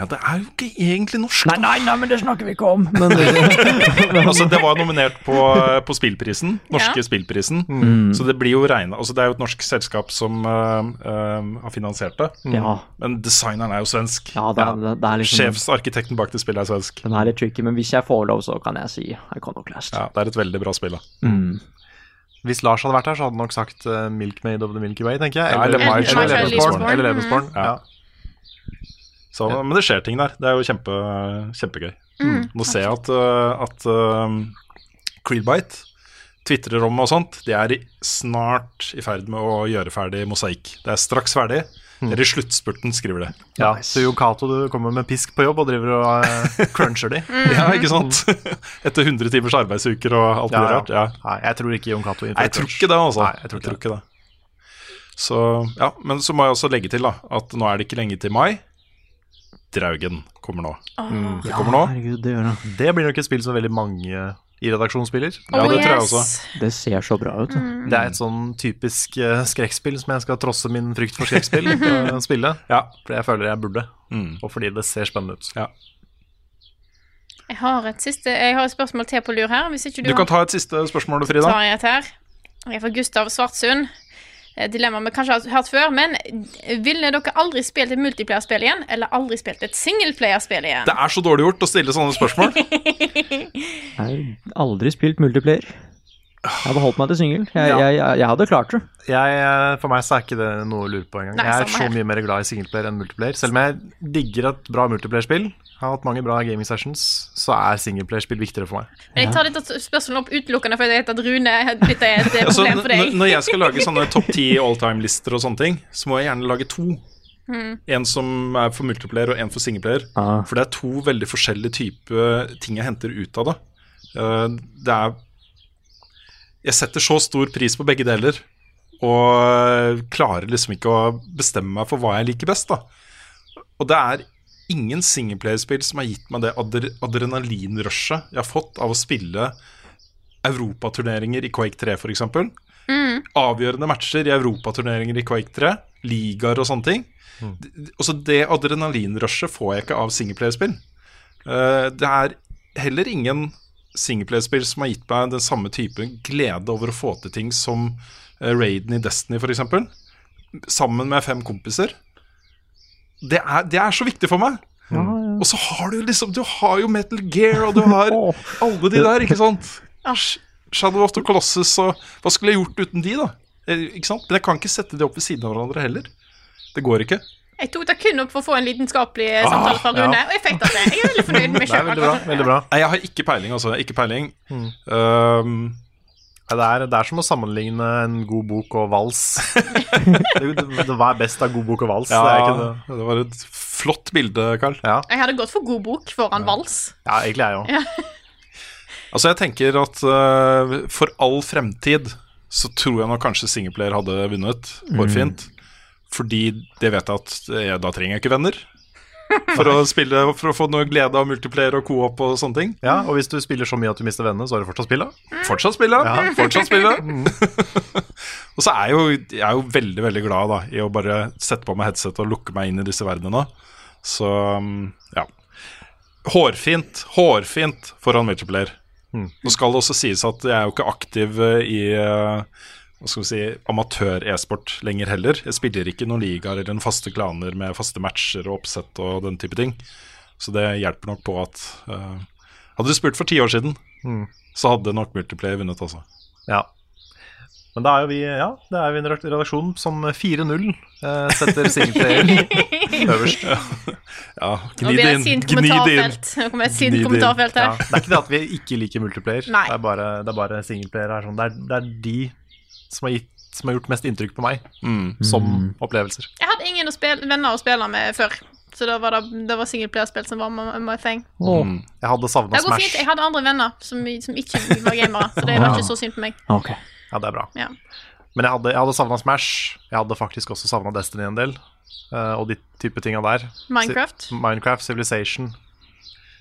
[SPEAKER 2] Ja, det er jo ikke egentlig norsk.
[SPEAKER 4] Nei, nei, nei, men det snakker vi ikke om. Men eh,
[SPEAKER 2] altså, det var nominert på, eh, på spillprisen, norske
[SPEAKER 4] Ja.
[SPEAKER 2] spillprisen.
[SPEAKER 4] Mm.
[SPEAKER 2] Så det blir jo regnet, altså Det er jo et norsk selskap som eh, eh, har finansiert det.
[SPEAKER 4] Ja.
[SPEAKER 2] Men designeren er jo svensk.
[SPEAKER 4] Ja, det er- det er liksom-
[SPEAKER 2] Sjefsarkitekten bak det spillet er svensk.
[SPEAKER 4] den er litt tricky, men hvis jeg får lov, så kan jeg si Iconoclast.
[SPEAKER 2] Ja, Det er et veldig bra spill, da.
[SPEAKER 3] Hvis Lars hadde vært her, så hadde han nok sagt eh, 'Milkmaid of the Milky Way', tenker jeg.
[SPEAKER 2] Ja, eller My Child Lebensborn.
[SPEAKER 3] Eller
[SPEAKER 2] Mm.
[SPEAKER 3] Lebensborn. Ja.
[SPEAKER 2] Så, men det skjer ting der. Det er jo kjempe, kjempegøy.
[SPEAKER 3] Mm,
[SPEAKER 2] Nå ser jeg at, uh, at um, Creedbite tvitrer om og sånt. De er i- snart i ferd med å gjøre ferdig mosaikk. Det er straks ferdig. Det er i sluttspurten, skriver de.
[SPEAKER 3] Ja, så Jon Cato, du kommer med pisk på jobb og driver og eh, cruncher de.
[SPEAKER 2] Ja, ikke sant? Etter 100 timers arbeidsuker og alt mulig
[SPEAKER 3] Ja, ja.
[SPEAKER 2] rart. Ja.
[SPEAKER 3] Nei, jeg tror ikke Jon Cato
[SPEAKER 2] Nei, jeg tror ikke det, altså. jeg tror ikke, det. Så, ja, Men så må jeg også legge til da, at nå er det ikke lenge til mai. Draugen kommer nå.
[SPEAKER 3] Mm.
[SPEAKER 2] Det kommer nå.
[SPEAKER 4] Herregud, det gjør det.
[SPEAKER 3] Det blir nok et spill som veldig mange i redaksjonen spiller.
[SPEAKER 2] Ja,
[SPEAKER 1] Oh,
[SPEAKER 2] det tror jeg også.
[SPEAKER 4] Det ser så bra ut. da.
[SPEAKER 2] Mm.
[SPEAKER 3] Det er et sånn typisk eh, skrekkspill som jeg skal trosse min frykt for skrekkspill og spille. For jeg føler jeg burde,
[SPEAKER 2] Mm.
[SPEAKER 3] og fordi det ser spennende ut.
[SPEAKER 1] Jeg har et siste Jeg har et spørsmål til på lur her. Hvis ikke du,
[SPEAKER 2] Du
[SPEAKER 1] har-
[SPEAKER 2] kan ta et siste spørsmål, Frida.
[SPEAKER 1] tar jeg et her. Jeg er fra Gustav Svartsund. Eh, Dilemma vi kanskje har hørt før, men eh, ville dere aldri spilt et multiplayerspill igjen, eller aldri spilt et singelplayerspill igjen?
[SPEAKER 2] Det er så dårlig gjort å stille sånne spørsmål.
[SPEAKER 4] Jeg har aldri spilt multiplayer. Jeg hadde holdt meg til singel. Jeg,
[SPEAKER 3] Ja.
[SPEAKER 4] jeg, jeg, jeg hadde klart det.
[SPEAKER 3] Jeg, eh, for meg så er ikke det noe å lure på engang.
[SPEAKER 4] Nei,
[SPEAKER 3] Jeg er
[SPEAKER 4] samme
[SPEAKER 3] så
[SPEAKER 4] her.
[SPEAKER 3] mye mer glad i singleplayer enn multiplayer. Selv om jeg digger et bra multiplayerspill, har hatt mange bra gaming sessions, så er singleplayerspill viktigere for meg.
[SPEAKER 1] Men jeg tar dette spørsmålet opp utelukkende fordi jeg heter at Rune dette er et eh,
[SPEAKER 2] Altså,
[SPEAKER 1] problem for deg.
[SPEAKER 2] n- når jeg skal lage sånne topp ti alltime-lister og sånne ting, så må jeg gjerne lage to.
[SPEAKER 1] Mm.
[SPEAKER 2] En som er for multiplayer, og en for singleplayer. For det er to veldig forskjellige typer ting jeg henter ut av det. Eh, Det er Jeg setter så stor pris på begge deler, og klarer liksom ikke å bestemme meg for hva jeg liker best, da. Og det er ingen singleplayerspill som har gitt meg det adre adrenalinrushet jeg har fått av å spille europaturneringer i Quake 3, f.eks.
[SPEAKER 5] Mm.
[SPEAKER 2] Avgjørende matcher i europaturneringer i Quake 3, ligaer og sånne ting. Også det adrenalinrushet får jeg ikke av singleplayerspill. Eh, det er heller ingen singleplayerspill som har gitt meg den samme type glede over å få til ting som eh, raiden i Destiny, f.eks. Sammen med fem kompiser. Det er, det er så viktig for meg. Og så har du liksom Du har jo Metal Gear, og du har alle de der, ikke sant? Æsj. Shadow of the Colossus og Hva skulle jeg gjort uten de, da? Eh, Ikke sant? Men jeg kan ikke sette de opp ved siden av hverandre heller. Det går ikke.
[SPEAKER 1] Jeg tok det kun opp for å få en lidenskapelig eh,
[SPEAKER 2] Ah,
[SPEAKER 1] samtale fra Rune,
[SPEAKER 2] ja.
[SPEAKER 1] og jeg fikk det til. Jeg er veldig fornøyd med meg selv.
[SPEAKER 2] Nei, jeg har ikke peiling, altså. Ikke peiling.
[SPEAKER 3] Hmm.
[SPEAKER 2] Ehm,
[SPEAKER 3] Nei, det, er, det er som å sammenligne en god bok og vals. det, det, det var best av god bok og vals.
[SPEAKER 2] Ja,
[SPEAKER 3] det er
[SPEAKER 2] det,
[SPEAKER 3] ikke det.
[SPEAKER 2] var et flott bilde, Carl.
[SPEAKER 3] Ja,
[SPEAKER 1] Jeg hadde gått for god bok foran vals.
[SPEAKER 3] egentlig jeg òg.
[SPEAKER 1] Ja.
[SPEAKER 2] Altså, jeg tenker at eh, for all fremtid så tror jeg nok kanskje singleplayer hadde vunnet.
[SPEAKER 3] Hmm.
[SPEAKER 2] Hårfint. Fordi det vet jeg at eh, da trenger jeg ikke venner. For å, spille, for å få noe glede av multiplayer og co-op og sånne ting.
[SPEAKER 3] Ja, og hvis du spiller så mye at du mister vennene, så har du fortsatt spilla.
[SPEAKER 2] Fortsatt spille,
[SPEAKER 3] Ja.
[SPEAKER 2] fortsatt spille. og så er jeg, jo, jeg er jo veldig veldig glad da, i å bare sette på meg headset og lukke meg inn i disse verdenene. Så mm, ja. Hårfint, hårfint foran multiplayer. Nå skal det også sies at jeg er jo ikke aktiv eh, i eh, hva skal vi si, amatør-e-sport lenger heller. Jeg spiller ikke noen ligaer eller noen faste klaner med faste matcher og oppsett og den type ting. Så det hjelper nok på at eh, Hadde du spurt for ti år siden,
[SPEAKER 3] Mm.
[SPEAKER 2] så hadde nok multiplayer vunnet, altså.
[SPEAKER 3] Ja. Men da er jo vi ja, det er jo en redakt- redaksjon som 4-0 eh, setter singleplayer øverst.
[SPEAKER 2] Ja,
[SPEAKER 1] Nå blir det et sint kommentarfelt. Nå kommer et sint kommentarfelt her.
[SPEAKER 3] Ja, det er ikke det at vi ikke liker multiplayer,
[SPEAKER 1] Nei.
[SPEAKER 3] det er bare, det er bare singleplayer. Her, sånn. det, er, det er de som har, gitt, som har gjort mest inntrykk på meg, som opplevelser.
[SPEAKER 1] Jeg hadde ingen å spille, venner å spille med før, så da var det, det var singleplayerspill som var my, my thing.
[SPEAKER 3] Mm. Jeg hadde savna
[SPEAKER 1] Det går fint.
[SPEAKER 3] Smash.
[SPEAKER 1] Jeg hadde andre venner som, som ikke var gamere, så det var ikke så synd på meg.
[SPEAKER 3] Ja, det er bra.
[SPEAKER 1] Ja.
[SPEAKER 3] Men jeg hadde, jeg hadde savna Smash. Jeg hadde faktisk også savna Destiny en del. eh, og de type tinga der.
[SPEAKER 1] Minecraft?
[SPEAKER 3] Si- Minecraft, Civilization.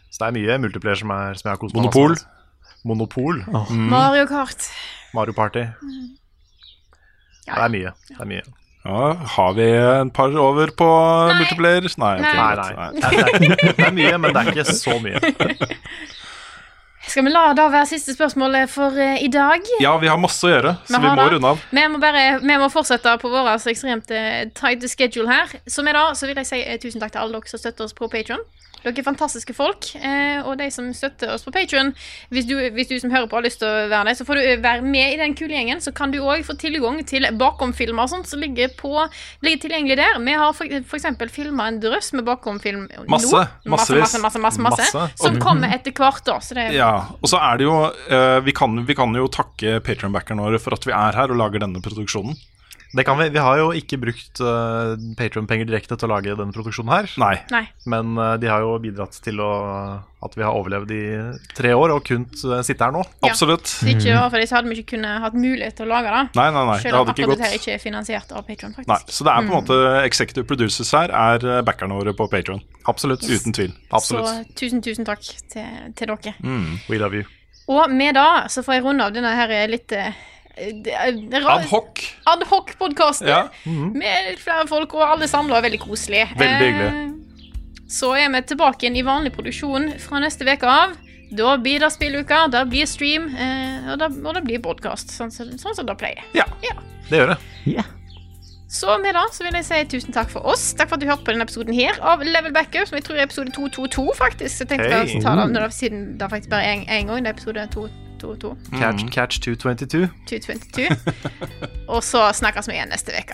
[SPEAKER 3] Så det er mye multiplayer som, er, som jeg har kost meg med.
[SPEAKER 2] Monopol.
[SPEAKER 3] Monopol. Mm.
[SPEAKER 1] Mario Kart.
[SPEAKER 3] Mario Party.
[SPEAKER 1] Ja,
[SPEAKER 3] det er mye. Det er mye.
[SPEAKER 2] Ja, har vi en par over på multiplayer? Nei, ok,
[SPEAKER 3] Nei,
[SPEAKER 2] greit.
[SPEAKER 3] nei. Det, er, det er mye, men det er ikke så mye.
[SPEAKER 1] Skal vi la det være siste spørsmålet for eh, i dag?
[SPEAKER 2] Ja, vi har masse å gjøre, så
[SPEAKER 1] Vi
[SPEAKER 2] vi,
[SPEAKER 1] har
[SPEAKER 2] må
[SPEAKER 1] det.
[SPEAKER 2] runde av.
[SPEAKER 1] Vi må, bare, vi må fortsette på vår så ekstremt eh, tight schedule her. Som er da, så vil jeg si eh, tusen takk til alle dere som støtter oss på Patreon Dere er fantastiske folk. eh, og de som støtter oss på Patreon hvis, du- hvis du som hører på har lyst til å være det, så får du eh, være med i den kule gjengen. Så kan du òg få tilgang til bakomfilmer og sånt som ligger, på, ligger tilgjengelig der. Vi har f.eks. filma en drøss med bakomfilm nå.
[SPEAKER 2] Masse,
[SPEAKER 1] Masse,
[SPEAKER 2] massevis.
[SPEAKER 1] masse, masse, masse, masse,
[SPEAKER 2] Masse.
[SPEAKER 1] Som
[SPEAKER 2] Og-
[SPEAKER 1] kommer etter hvert, da. Så det er
[SPEAKER 2] Ja, og så er det jo eh, vi, kan, vi kan jo takke Patreon-backerne våre for at vi er her og lager denne produksjonen.
[SPEAKER 3] Det kan vi. Vi har jo ikke brukt uh, Patron-penger direkte til å lage denne produksjonen her.
[SPEAKER 2] Nei.
[SPEAKER 1] Nei.
[SPEAKER 3] Men eh, de har jo bidratt til å, at vi har overlevd i tre år og kunnet eh, sitte her nå.
[SPEAKER 1] Ja. Hvis det ikke var for det, så hadde vi ikke kunnet hatt mulighet til å lage det.
[SPEAKER 2] Nei, nei, nei, det
[SPEAKER 1] Selv om
[SPEAKER 2] hadde ikke
[SPEAKER 1] akkurat
[SPEAKER 2] gått.
[SPEAKER 1] dette ikke er finansiert av Patreon, faktisk.
[SPEAKER 2] Nei, så det er på en
[SPEAKER 1] Mm.
[SPEAKER 2] måte executive producers her, er eh, backerne våre på Patreon.
[SPEAKER 3] Absolutt.
[SPEAKER 2] Uten tvil.
[SPEAKER 1] Så tusen, tusen takk til, til dere.
[SPEAKER 2] Mm.
[SPEAKER 3] We love you.
[SPEAKER 1] Og med det så får jeg runde av denne her litt eh, det er- det er rar-
[SPEAKER 2] Adhoc.
[SPEAKER 1] Adhoc-podkasten.
[SPEAKER 2] Ja.
[SPEAKER 1] Med flere folk, og alle samla og veldig koselig.
[SPEAKER 2] Veldig hyggelig.
[SPEAKER 1] Eh, Så er vi tilbake igjen i vanlig produksjon fra neste uke av. Da blir det spilluka, det blir stream, eh, og det, og det blir podkast. Sånn, som- sånn som det pleier.
[SPEAKER 3] Det gjør det.
[SPEAKER 1] Så med det så vil jeg si tusen takk for oss. Takk for at du hørte på denne episoden her av Level Backup, som jeg tror er episode 222, faktisk. Så jeg tenkte
[SPEAKER 3] Hei.
[SPEAKER 1] jeg å ta det av når det, siden det faktisk bare er en, en gang. Det er episode 222. 222.
[SPEAKER 3] Catch, catch 222.
[SPEAKER 1] 222. Og så snakkes vi igjen neste uke.